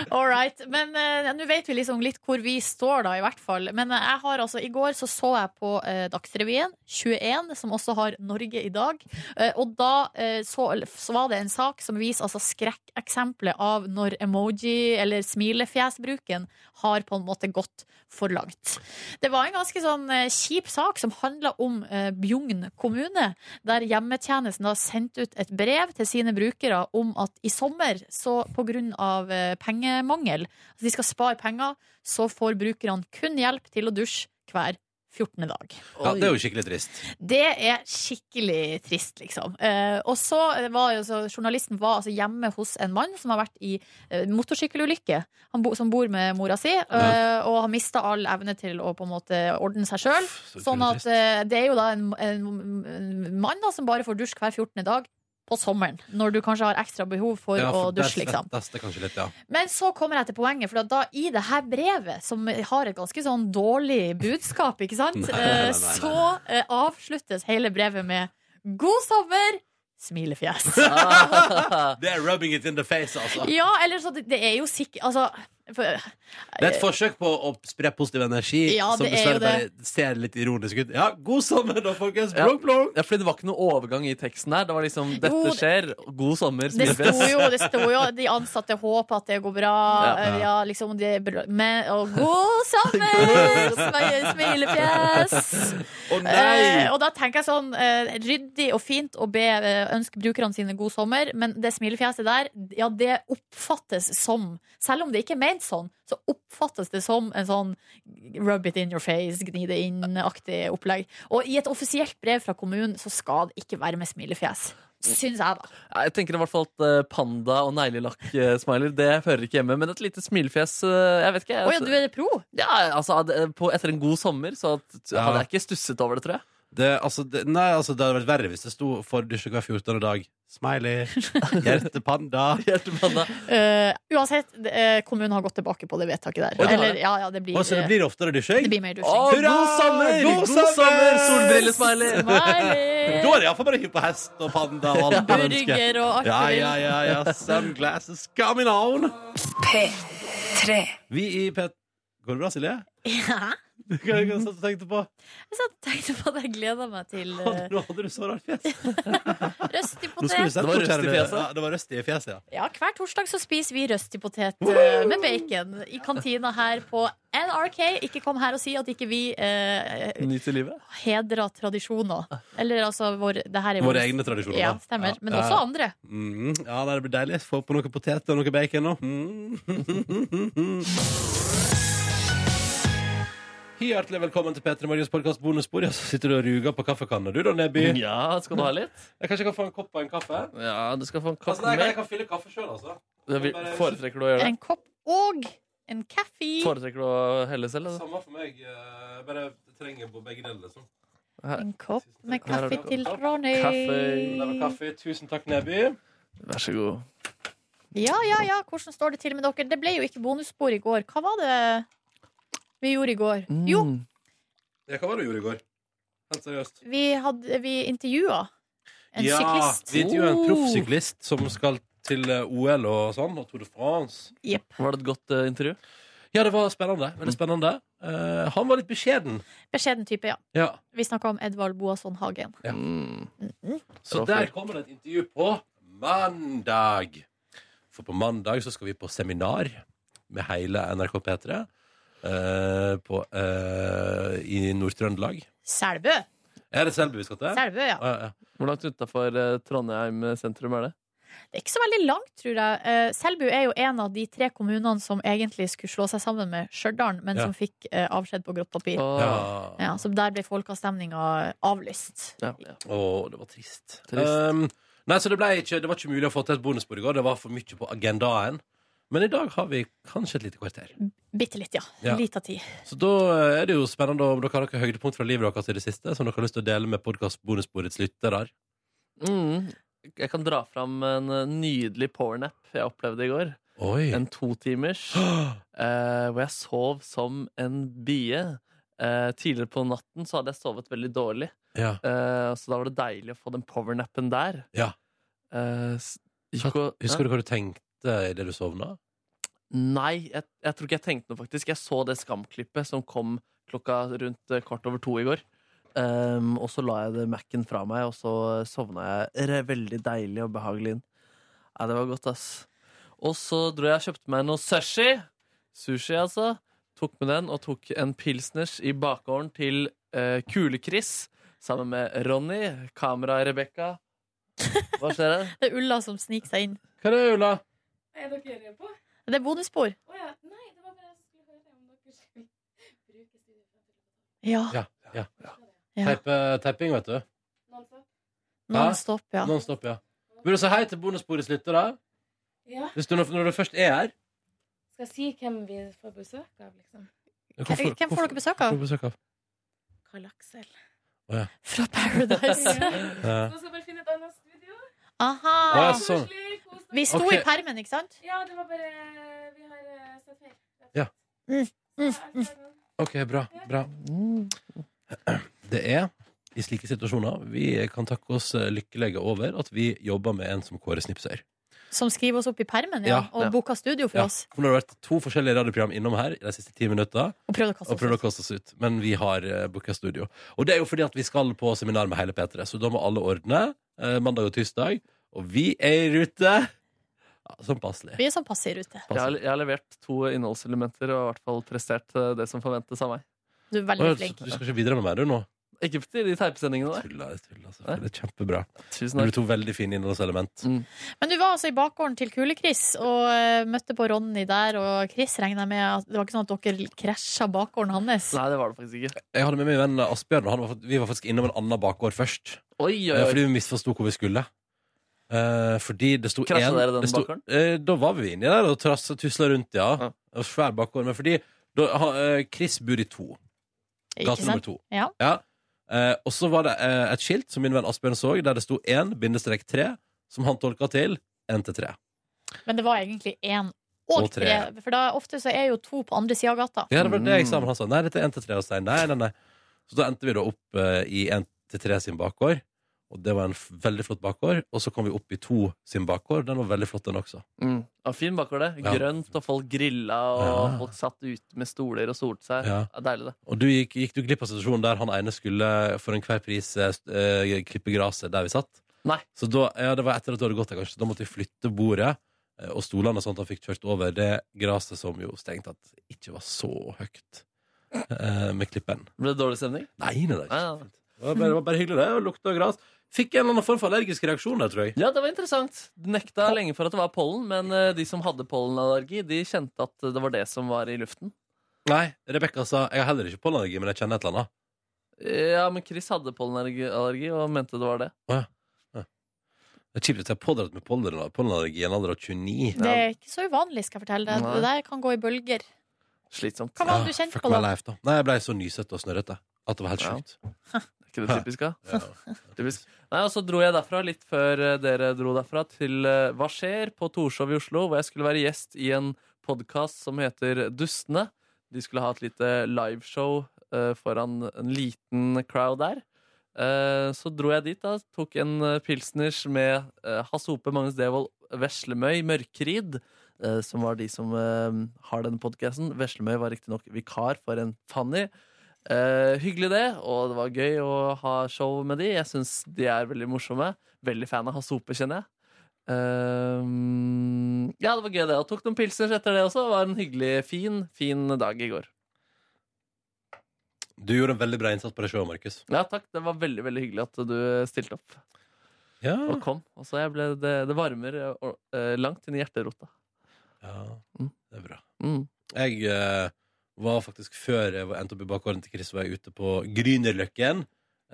All right. Men eh, nå vet vi liksom litt hvor vi står, da, i hvert fall. Men eh, jeg har altså I går så, så jeg på eh, Dagsrevyen 21, som også har Norge i dag. Eh, og da eh, så, så var det en sak som viser altså skrekkeksempelet av når emoji- eller smilefjesbruken har på en måte gått for langt. Det var en ganske sånn eh, kjip sak som handla om eh, Bjugn kommune, der hjemmetjenesten da sendte ut et brev til sine brukere om at i sommer, så pga. Eh, pengemangel, altså de skal spare penger, så får brukerne kun hjelp til å dusje hver 14. dag. Ja, det er jo skikkelig trist. Det er skikkelig trist, liksom. Eh, og så var jo så journalisten var altså hjemme hos en mann som har vært i eh, motorsykkelulykke. Han bo, som bor med mora si, eh, og har mista all evne til å på en måte ordne seg sjøl. Sånn at eh, det er jo da en, en, en mann da, som bare får dusj hver 14. dag på sommeren. Når du kanskje har ekstra behov for, Ja, å der dusje, liksom. svettes det kanskje litt, ja. Men så kommer jeg til poenget, for da i det her brevet, som har et ganske sånn dårlig budskap, ikke sant, Nei, nei, nei, nei, nei. Eh, så eh, avsluttes hele brevet med 'God sommer', smilefjes. det er rubbing it in the face, altså. ja, eller så det, det er jo sikkert Altså for, Det er et forsøk på å spre positiv energi, Ja, som det er jo dessverre bare ser litt ironisk ut. Ja, god sommer, da, folkens! Plong, plong! Ja, fordi det var ikke noe overgang i teksten her. Det var liksom 'dette Jo, det- skjer', 'god sommer', det sto, smilefjes. jo, det sto jo De ansatte håper at det går bra. Ja. eh, Ja, liksom det, er bra, Men Og 'God sommer', smi- smilefjes! Å nei! Eh, og da tenker jeg sånn eh, ryddig og fint å be, eh, ønske brukerne sine god sommer, men det smilefjeset der, ja, det oppfattes som Selv om det ikke er ment sånn, så oppfattes det som en sånn rub it in your face, gni det inn-aktig opplegg. Og i et offisielt brev fra kommunen så skal det ikke være med smilefjes. Syns jeg, da. Ja, Jeg tenker i hvert fall at eh, panda og neglelakk-smiler Det hører ikke hjemme. Men et lite smilefjes eh, Jeg vet ikke. Altså- Å ja, du er pro? Ja, altså, ad- eh, på, Etter en god sommer så at- Ja. hadde jeg ikke stusset over det, tror jeg. Det, altså, det, nei, altså, det hadde vært verre hvis det sto for dusje hver 14. dag. Smiley. Hjertepanda. Eh, uansett, det- eh, kommunen har gått tilbake på det vedtaket der. Oi, det har Eller, det. ja, ja, det blir, Å, så det blir oftere dusjing? Det blir mer dusjing. Å, god sommer! God, sommer! Solbrillesmiley! Smiley! Da er det iallfall bare hypp på hest og panda og alt man ønsker. Burger og alt Ja, du vil. ja, ja, ja. Sunglasses coming on! P3. Vi i P... Går det bra, Silje? Ja. Hva er det du satt og tenkte på? Jeg satt og tenkte på at jeg gleder meg til eh, Nå hadde du så rart fjes. Nå skulle du røstipotet. Det sett var hvor røst i kjære- fjeset. Ja, det var røst i fjeset, ja. Ja, hver torsdag så spiser vi røstipotet eh, med bacon i kantina her på NRK. Ikke kom her og si at ikke vi eh, Nyt i livet. hedrer tradisjoner. Eller altså vår, det her er Våre egne tradisjoner, Ja, da. stemmer. Ja. Men også Ja. andre. Mm, ja, nei, det blir deilig. Få på noe potet og noe bacon nå. Mm. Hjertelig velkommen til P3 Morgens podkast bonusbord. Ja, så sitter du og ruger på kaffekanna, du da, Neby. Ja, skal du ha litt? Jeg kanskje jeg kan få en kopp og en kaffe? Ja, du skal få en kopp Altså, nei, jeg, kan, jeg mer. kan fylle kaffe sjøl, altså. Det vil- Foretrekker du å gjøre det? En kopp og en kaffe. Foretrekker du å helle selv? altså. Eller? Samme for meg. eh, Bare trenger på begge deler, liksom. En kopp med Her har kaffe du til Ronny. Kaffe. Det var kaffe. Tusen takk, Neby. Vær så god. Ja, ja, ja. Hvordan står det til med dere? Det ble jo ikke bonusspor i går. Hva var det vi gjorde i går? Mm. Jo, Ja, hva var det du gjorde i går? Helt seriøst. vi, hadde- vi intervjua en ja, syklist. Oh. Vi intervjuet Oh. en proffsyklist som skal til eh, OL og sånn, og Tour de France. Var det et godt eh, intervju? Ja, det var spennende. Veldig spennende. Eh, han var litt beskjeden. Beskjeden type, ja. Ja. Vi snakka om Edvard Boasson Hagen. Mm. Så der kommer det et intervju på mandag. For på mandag så skal vi på seminar med hele NRK P3 eh, på, eh, i Nord-Trøndelag. Selbø! Er det Selbu vi skal til? Selbø, ja. Ja, ja. Hvor langt utafor Trondheim eh, sentrum er det? Det er ikke så veldig langt, tror jeg. Eh, Selbu er jo en av de tre kommunene som egentlig skulle slå seg sammen med Stjørdal, men Ja. som fikk eh, avskjed på grått papir. Ja. Ja, så der ble folkeavstemninga avlyst. Ja, ja. Å, det var trist. Trist. Um, nei, så det, ble ikke, det var ikke mulig å få til et bonusbord i går. Det var for mye på agendaen. Men i dag har vi kanskje et lite kvarter. Bitte litt, ja. Ja. Lita tid. Så da eh, er det jo spennende om dere har noen høydepunkt fra livet deres i det siste som dere har lyst til å dele med podkast-bonusbordets lyttere. Mm. Jeg kan dra fram en eh, nydelig powernap jeg opplevde i går. Oi. En totimers eh, hvor jeg sov som en bie. Eh, tidligere på natten så hadde jeg sovet veldig dårlig, Ja. eh, så da var det deilig å få den powernappen der. Ja. Eh, s- gikk og, Husker du hva du tenkte i det du sovna? Nei, jeg, jeg tror ikke jeg tenkte noe, faktisk. Jeg så det skamklippet som kom klokka rundt eh, kvart over to i går. Ehm, og så la jeg det Mac-en fra meg, og så eh, sovna jeg re- veldig deilig og behagelig inn. Nei, det var godt, ass. Og så dro jeg og kjøpte meg noe sushi. Sushi, altså. Tok med den og tok en pilsners i bakgården til eh, Kule-Chris sammen med Ronny, kamera Rebekka. Hva skjer her? Det er Ulla som sniker seg inn. Hva er det, Ulla? Er dere gjør på? Det er bonusspor. Å ja. Nei, det var bare jeg skulle høre om dere skulle bruke studieplassen. Ja. Ja. ja. ja. Teipe- Teiping, vet du. Noen sa? Non stop, ja. Non stop, ja. Vil du si hei til bonusbordets lyttere? Ja. Hvis du, når du først er her Skal jeg si hvem vi får besøk av, liksom? Hvorfor- Hvem får hvorfor- dere besøk av? hvorfor besøk av? Karl Aksel. Fra Paradise. Eh, Så skal jeg bare finne et annet studio. Ja, Aha. så- sånn. Koselig, kos dere. Vi sto Ok. i permen, ikke sant? Ja, det var bare Vi har eh, sett feil. Ja. Mm, mm, Så, alt er bra. OK, bra. bra. Det er i slike situasjoner vi kan takke oss eh, lykkelige over at vi jobber med en som Kåre Snipsøyr. Som skriver oss opp i permen, ja. Ja, ja. Og booka studio for Ja, oss. for nå har det vært to forskjellige radioprogram innom her i de siste ti minutter Og prøvde å kaste og prøvd å oss ut. kaste oss ut, men vi har eh, booka studio. Og det er jo fordi at vi skal på seminar med hele P3, så da må alle ordne eh, mandag og tirsdag. Og vi er i rute! Ja, sånn passelig. Vi er sånn passe i rute. Jeg har, jeg har levert to innholdselementer og i hvert fall prestert eh, det som forventes av meg. Du er veldig Å, flink. Du skal ikke videre med meg, du, nå? Ikke til de teipesendingene der. Tulla, jeg tulla. selvfølgelig. Det er kjempebra. Tusen Det blir takk. to veldig fine innholdselement. Men du var altså i bakgården til Kule-Chris og eh, møtte på Ronny der, og Chris regner jeg med at det var ikke sånn at dere krasja bakgården hans. Nei, det var det faktisk ikke. Jeg hadde med meg vennen Asbjørn, og han var, fakt- vi var faktisk innom en annen bakgård først. Oi, oi, Eh, oi. Fordi vi misforsto hvor vi skulle. Eh, fordi det sto Krasja en- dere den det sto- bakgården? Eh, da var vi inni der og trass- tusla rundt, ja. Ja. Og svær bakgård. Men fordi da, ha, eh, Chris bor i to. Ikke Gate nummer sant? to. Ja. Eh, og så var det eh, et skilt som min venn Asbjørn så, der det sto 1-3, som han tolka til 1-3. Men det var egentlig én og, Og tre. tre. For da, ofte så er jo to på andre sida av gata. Ja, det var det jeg sa, men han sa nei, dette er 1-3 og Stein. Nei, nei, nei. Så da endte vi da opp eh, i 1-3 sin bakgård, og det var en f- veldig flott bakgård. Og så kom vi opp i 2 sin bakgård, den var veldig flott, den også. Mm. Ja, fin bakgård, det. Ja. Grønt, og folk grilla, og Ja. folk satt ute med stoler og solte seg. Ja. Ja, deilig, det. Og du gikk, gikk du glipp av situasjonen der han ene skulle for enhver pris eh, st- eh, klippe gresset der vi satt? Nei. Så da, ja, det var etter at du hadde gått der, kanskje. Da måtte vi flytte bordet eh, og stolene, sånn at han fikk kjørt over det gresset som jo strengt tatt ikke var så høyt eh, med klippen. Ble det dårlig stemning? Nei, nei, nei. Det var bare, det var bare hyggelig, det. Og lukta gress. Fikk en eller annen form for allergisk reaksjon der, tror jeg. Ja, det var interessant. Nekta lenge for at det var pollen, men eh, de som hadde pollenallergi, de kjente at det var det som var i luften. Nei, Rebekka sa jeg har heller ikke pollenallergi, men jeg kjenner et eller annet. Ja, men Chris hadde pollenallergi allergi, og mente det var det. Å, ja. Ja. Det er kjipt at jeg er pådratt med pollen, pollenallergi i en alder av 29. Det er ikke så uvanlig, skal jeg fortelle deg. Det der kan gå i bølger. Slitsomt. Hva var det du kjente fuck my på da? Life, da? Nei, jeg ble så nysete og snørrete at det var helt Ja. sjukt. Er ikke det typisk, da? Typisk. Nei, og så dro jeg derfra litt før eh, dere dro derfra, til eh, Hva skjer? på Torshov i Oslo, hvor jeg skulle være gjest i en podkast som heter Dustene. De skulle ha et lite liveshow eh, foran en liten crowd der. Eh, Så dro jeg dit, da. Tok en eh, pilsners med eh, Hasse Hope, Magnus Devold, Veslemøy, Mørkrid. eh, Som var de som eh, har denne podkasten. Veslemøy var riktignok vikar for en Fanny. Eh, hyggelig det, og det var gøy å ha show med de. Jeg syns de er veldig morsomme. Veldig fan av Hasse Hope, kjenner jeg. Eh, ja, det var gøy, det. Og tok noen pilsners etter det også. Det var en hyggelig, fin, fin dag i går. Du gjorde en veldig bra innsats på det showet, Markus. Ja, takk. Det var veldig veldig hyggelig at du stilte opp Ja. og kom. Og så jeg ble, det, det varmer eh, or- eh, langt inn i hjerterota. ja, det er bra. Mm. Jeg eh, var faktisk før jeg var- endte opp i bakgården til Chris, var jeg ute på Grünerløkken,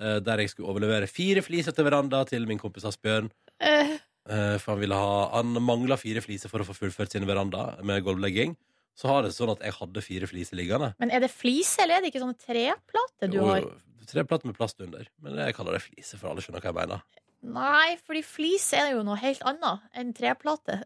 eh, der jeg skulle overlevere fire fliser til veranda til min kompis Asbjørn. Eh, Eh, for han, ville ha, han mangla fire fliser for å få fullført sin veranda med gulvlegging. Så har det sånn at jeg hadde fire fliser liggende. Men er det flise, eller er det ikke sånne treplater du Jo, har? jo, Tre plater med plast under. Men jeg kaller det fliser, for alle skjønner hva jeg mener. Nei, fordi flise er jo noe helt annet enn treplate.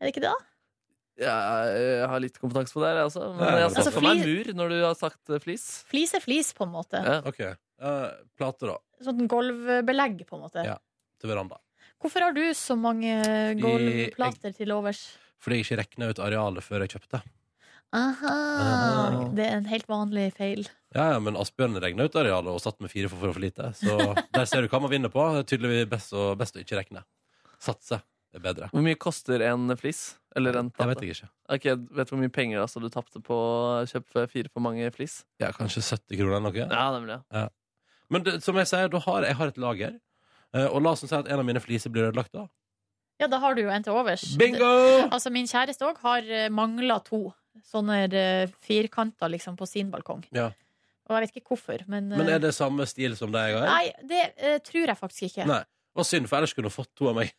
Er det ikke det, da? Jeg, jeg har litt kompetanse på det, her, jeg også. Men Ja, jeg ja, har sett altså, for meg en flis- mur når du har sagt eh, flis. Flis er flis, på en måte. Ja. OK. Eh, plater, da. Sånn golvbelegg, på en måte. Ja. Til veranda. Hvorfor har du så mange golvplater til overs? Fordi jeg ikke regna ut arealet før jeg kjøpte. Aha. Ah. Det er en helt vanlig feil. Ja, ja, Men Asbjørn regna ut arealet og satt med fire for for, for lite. Så der ser du hva man vinner på. Det er tydeligvis best å, best å ikke regne. Satse er bedre. Hvor mye koster en flis? Eller en Jeg plate? vet jeg ikke. Ok, Vet du hvor mye penger altså, du tapte på å kjøpe fire for mange flis? Ja, Kanskje 70 kroner eller noe. Ja, nemlig. ja. Ja. Men det, som jeg sier, da har, jeg har et lager. Eh, Og la oss si at en av mine fliser blir ødelagt da. Ja, da har du jo en til overs. Bingo! Altså, min kjæreste òg har mangla to sånne eh, firkanter liksom, på sin balkong. Ja. Og jeg vet ikke hvorfor, men, Men eh, er det samme stil som det jeg har? Nei, det eh, tror jeg faktisk ikke. Nei. Det var synd, for ellers kunne du fått to av meg.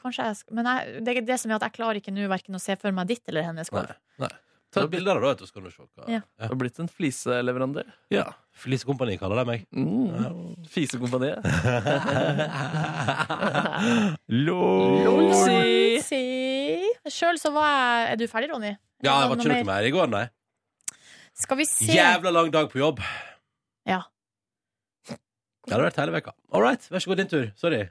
Kanskje jeg sk- Men jeg, det er det som gjør at jeg klarer ikke nå hverken å se for meg ditt eller hennes Nei. golv. Nei. Ta bilder av det, vet du, så kan du se hva Ja. Du har blitt en fliseleverandør. Ja. Flisekompani kaller de meg. Mm. Fisekompaniet. Lolsi! Sjøl så var jeg Er du ferdig, Ronny? Ja, det Noe var ikke noe mer i går, nei. Skal vi se Jævla lang dag på jobb. Ja. Det hadde vært hele veka. All right, vær så god, din tur. Sorry.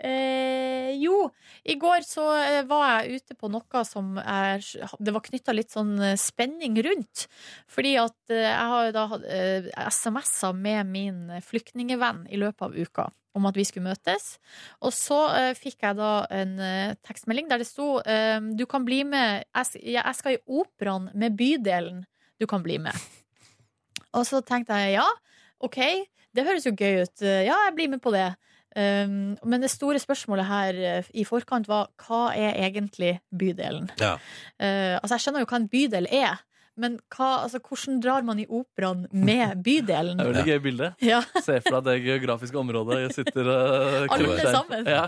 Eh, jo, i går så eh, var jeg ute på noe som er, det var knytta litt sånn eh, spenning rundt. Fordi at eh, jeg har jo da hatt eh, SMS-er med min flyktningevenn i løpet av uka om at vi skulle møtes. Og så eh, fikk jeg da en eh, tekstmelding der det sto eh, Du kan bli med jeg, s- ja, jeg skal i operaen med bydelen du kan bli med. Og så tenkte jeg ja, OK, det høres jo gøy ut. Ja, jeg blir med på det. Um, men det store spørsmålet her eh, i forkant var hva er egentlig bydelen? Ja. Eh, altså, jeg skjønner jo hva en bydel er, men hva, altså, hvordan drar man i operaen med bydelen? Det er veldig gøy bilde. Ja. Se for deg det geografiske området. Jeg sitter eh, Alle krøller. sammen. Ja.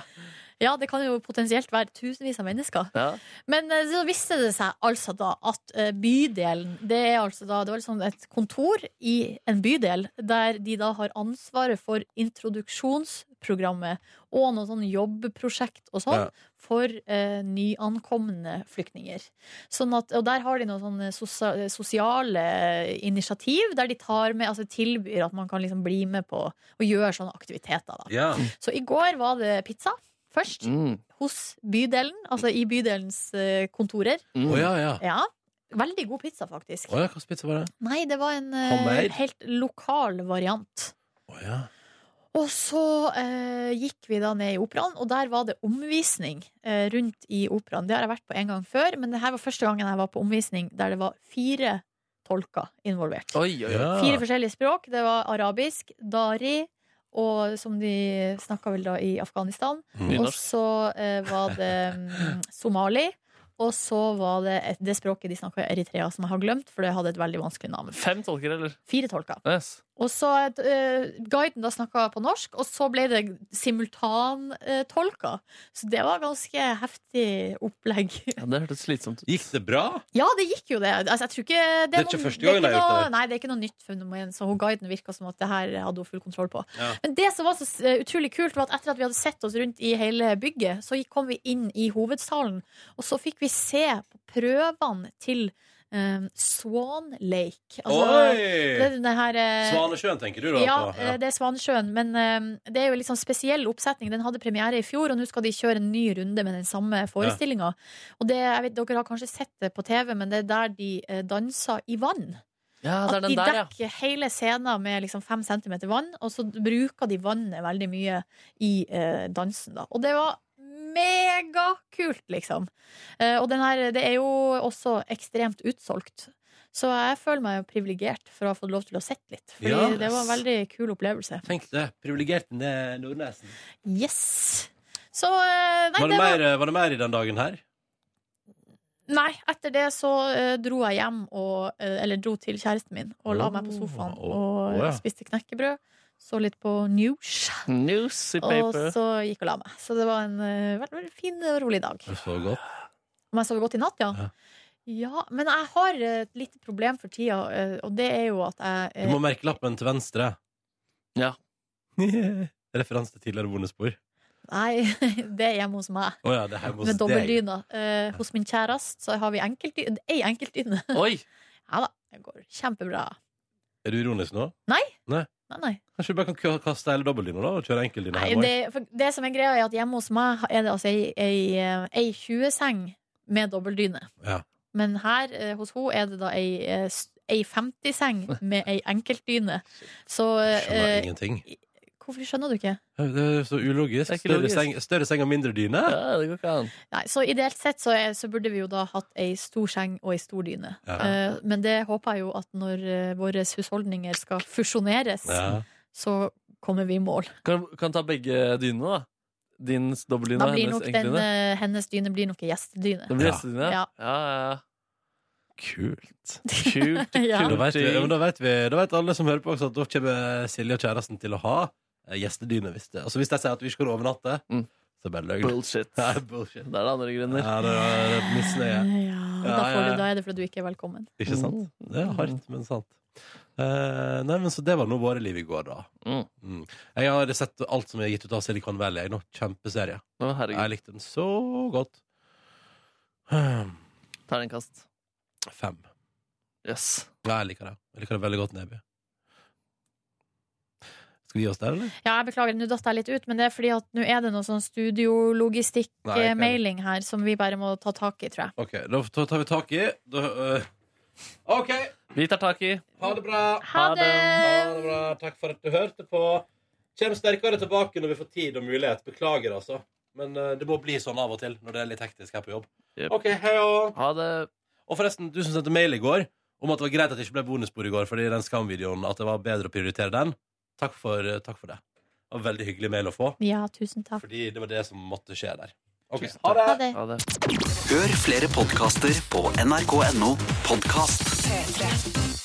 Ja, det kan jo potensielt være tusenvis av mennesker. Ja. Men eh, så viste det seg altså da at eh, bydelen Det er altså da Det var liksom et kontor i en bydel der de da har ansvaret for introduksjonsprogrammet og noe sånn jobbprosjekt og sånn Ja. for eh, nyankomne flyktninger. Sånn at, og der har de noen sånne sosa, sosiale initiativ der de tar med, altså tilbyr at man kan liksom bli med på og gjøre sånne aktiviteter. da. Ja. Så i går var det pizza først hos bydelen, altså i bydelens eh, kontorer. Mm. Å, ja, ja. Veldig god pizza, faktisk. Å ja, hva slags pizza var det? Nei, det var en eh, Homemade? helt lokal variant. Og så eh, gikk vi da ned i operaen, og der var det omvisning eh, rundt i operaen. Det har jeg vært på en gang før, men det her var første gangen jeg var på omvisning der det var fire tolker involvert. Oi, oi, oi. Ah. Fire forskjellige språk. Det var arabisk, dari, og som de snakka vel da i Afghanistan. Mm. Og så eh, var det mm, somali. Og så var det et, det språket de snakka i Eritrea, som jeg har glemt, for det hadde et veldig vanskelig navn. Fem tolker, eller? Fire tolker. Yes. Og så eh, Guiden da snakka på norsk, og så ble det simultantolka. så det var ganske heftig opplegg. Ja, det hørtes slitsomt ut. Gikk det bra? Ja, det gikk jo det. Altså, jeg tror ikke, Det er ikke noe- første det er gangen jeg ikke har gjort noe- det. Nei, det er ikke noe nytt fenomen. Så hun guiden virka som at det her hadde hun full kontroll på. Ja. Men det som var så eh, utrolig kult, var at etter at vi hadde sett oss rundt i hele bygget, så gikk- kom vi inn i hovedsalen, og så fikk vi se på prøvene til eh, Swan Oi! Lake. Altså, det er den her, eh, Svanesjøen tenker du da ja, på? Ja. eh, det er Svanesjøen. Men eh, det er jo en litt sånn spesiell oppsetning. Den hadde premiere i fjor, og nå skal de kjøre en ny runde med den samme forestillinga. Og det, jeg vet, dere har kanskje sett det på TV, men det er der de eh, danser i vann. Ja, det er At de den der, ja. dekker hele scenen med liksom fem centimeter vann, og så bruker de vannet veldig mye i eh, dansen. Da. Og det var megakult, liksom. Eh, og den her, det er jo også ekstremt utsolgt. Så jeg føler meg privilegert for å ha fått lov til å sett litt. Fordi Ja. det var en veldig kul opplevelse. Tenk det. Privilegerte Nordnesen. Yes! Så eh, Nei, Var det, det var mer, var det mer i den dagen her? Nei, etter det så eh, dro jeg hjem og eh, Eller dro til kjæresten min og la meg på sofaen og å, ja. spiste knekkebrød. Så litt på news. Og Newspaper. så gikk og la meg. Så det var en eh, veldig, veldig fin og rolig dag. Det så godt. Om jeg sover godt i natt, ja? Ja. Ja, men jeg har eh, et lite problem for tida, eh, og det er jo at jeg eh, Du må merke lappen til venstre. Ja. Referanse til tidligere bonusspor. eh, Nei, det er hjemme hos meg. Å ja, det er hjemme hos Med deg. dobbeldyna. Eh, hos min kjæreste så har vi enkeltdyne. Ei enkeltdyne. Oi! Ja da, det går kjempebra. Er du ironisk nå? Nei. Nei. Nei, nei. Kanskje du bare kan kø- kaste hele dobbeltdyna da, og kjøre enkeltdyna nei hjem det, òg? for det som er greia, er at hjemme hos meg er det altså ei, ei, eh, ei 20-seng med dobbeltdyne. Ja. Men her eh, hos henne er det da ei, eh, s- ei 50-seng med ei enkeltdyne. Så Skjønner eh, ingenting. Hvorfor skjønner du ikke? Det er så ulogisk. Det er ikke Større logisk. seng, større seng og mindre dyne? Ja, det går ikke an. Nei, så ideelt sett så, er, så burde vi jo da hatt ei stor seng og ei stor dyne. Ja. Eh, men det håper jeg jo at når eh, våre husholdninger skal fusjoneres, Ja. så kommer vi i mål. Kan, kan ta begge dynene, da. Din dobbeltdyne Da og blir hennes nok den, enkeltdyne. eh, hennes dyne blir nok ei gjestedyne. Det blir gjestedyne? Ja. Ja, ja, ja. Kult. Kult. Ja. Da vet, vi, ja, men da, vet vi, da vet alle som hører på også at da kommer Silje og kjæresten til å ha eh, gjestedyne. Hvis, det. Altså, hvis de sier at vi ikke kan overnatte, så er det bare løgn. Bullshit. Ja, bullshit. Det er det andre grunner. Ja, det er, det er misnøye. Og da, får du, da er det fordi du ikke er velkommen. Ikke sant? Det er hardt, men sant. Eh, nei, men Så det var nå våre liv i går, da. Mm. Jeg har sett alt som er gitt ut av Silicon Valley. Jeg nå. Kjempeserie. jeg likte den så godt. Terningkast. Fem. Yes. Ja, jeg liker det. Jeg liker det veldig godt, Neby. Skal vi gi oss der, eller? Ja, jeg beklager, nå datt jeg litt ut, men det er fordi at nå er det noe sånn Nei, ikke studiologistikk-mailing her som vi bare må ta tak i, tror jeg. OK, da da tar vi tak i da, eh, OK! Vi tar tak i. Ha det bra! Ha det! Ha det bra. Takk for at du hørte på. Kjem sterkere tilbake når vi får tid og mulighet. Beklager, altså. Men eh, det må bli sånn av og til når det er litt hektisk her på jobb. OK, hei og Ha det. Og forresten, du som sendte mail i går om at det var greit at det ikke ble bonusbord i går fordi den Skam-videoen at det var bedre å prioritere den, takk for, eh, takk for det. Det var veldig hyggelig mail å få, Ja, tusen takk. fordi det var det som måtte skje der. Ok, Ha det! Hør flere podkaster på nrk.no podkast. P3.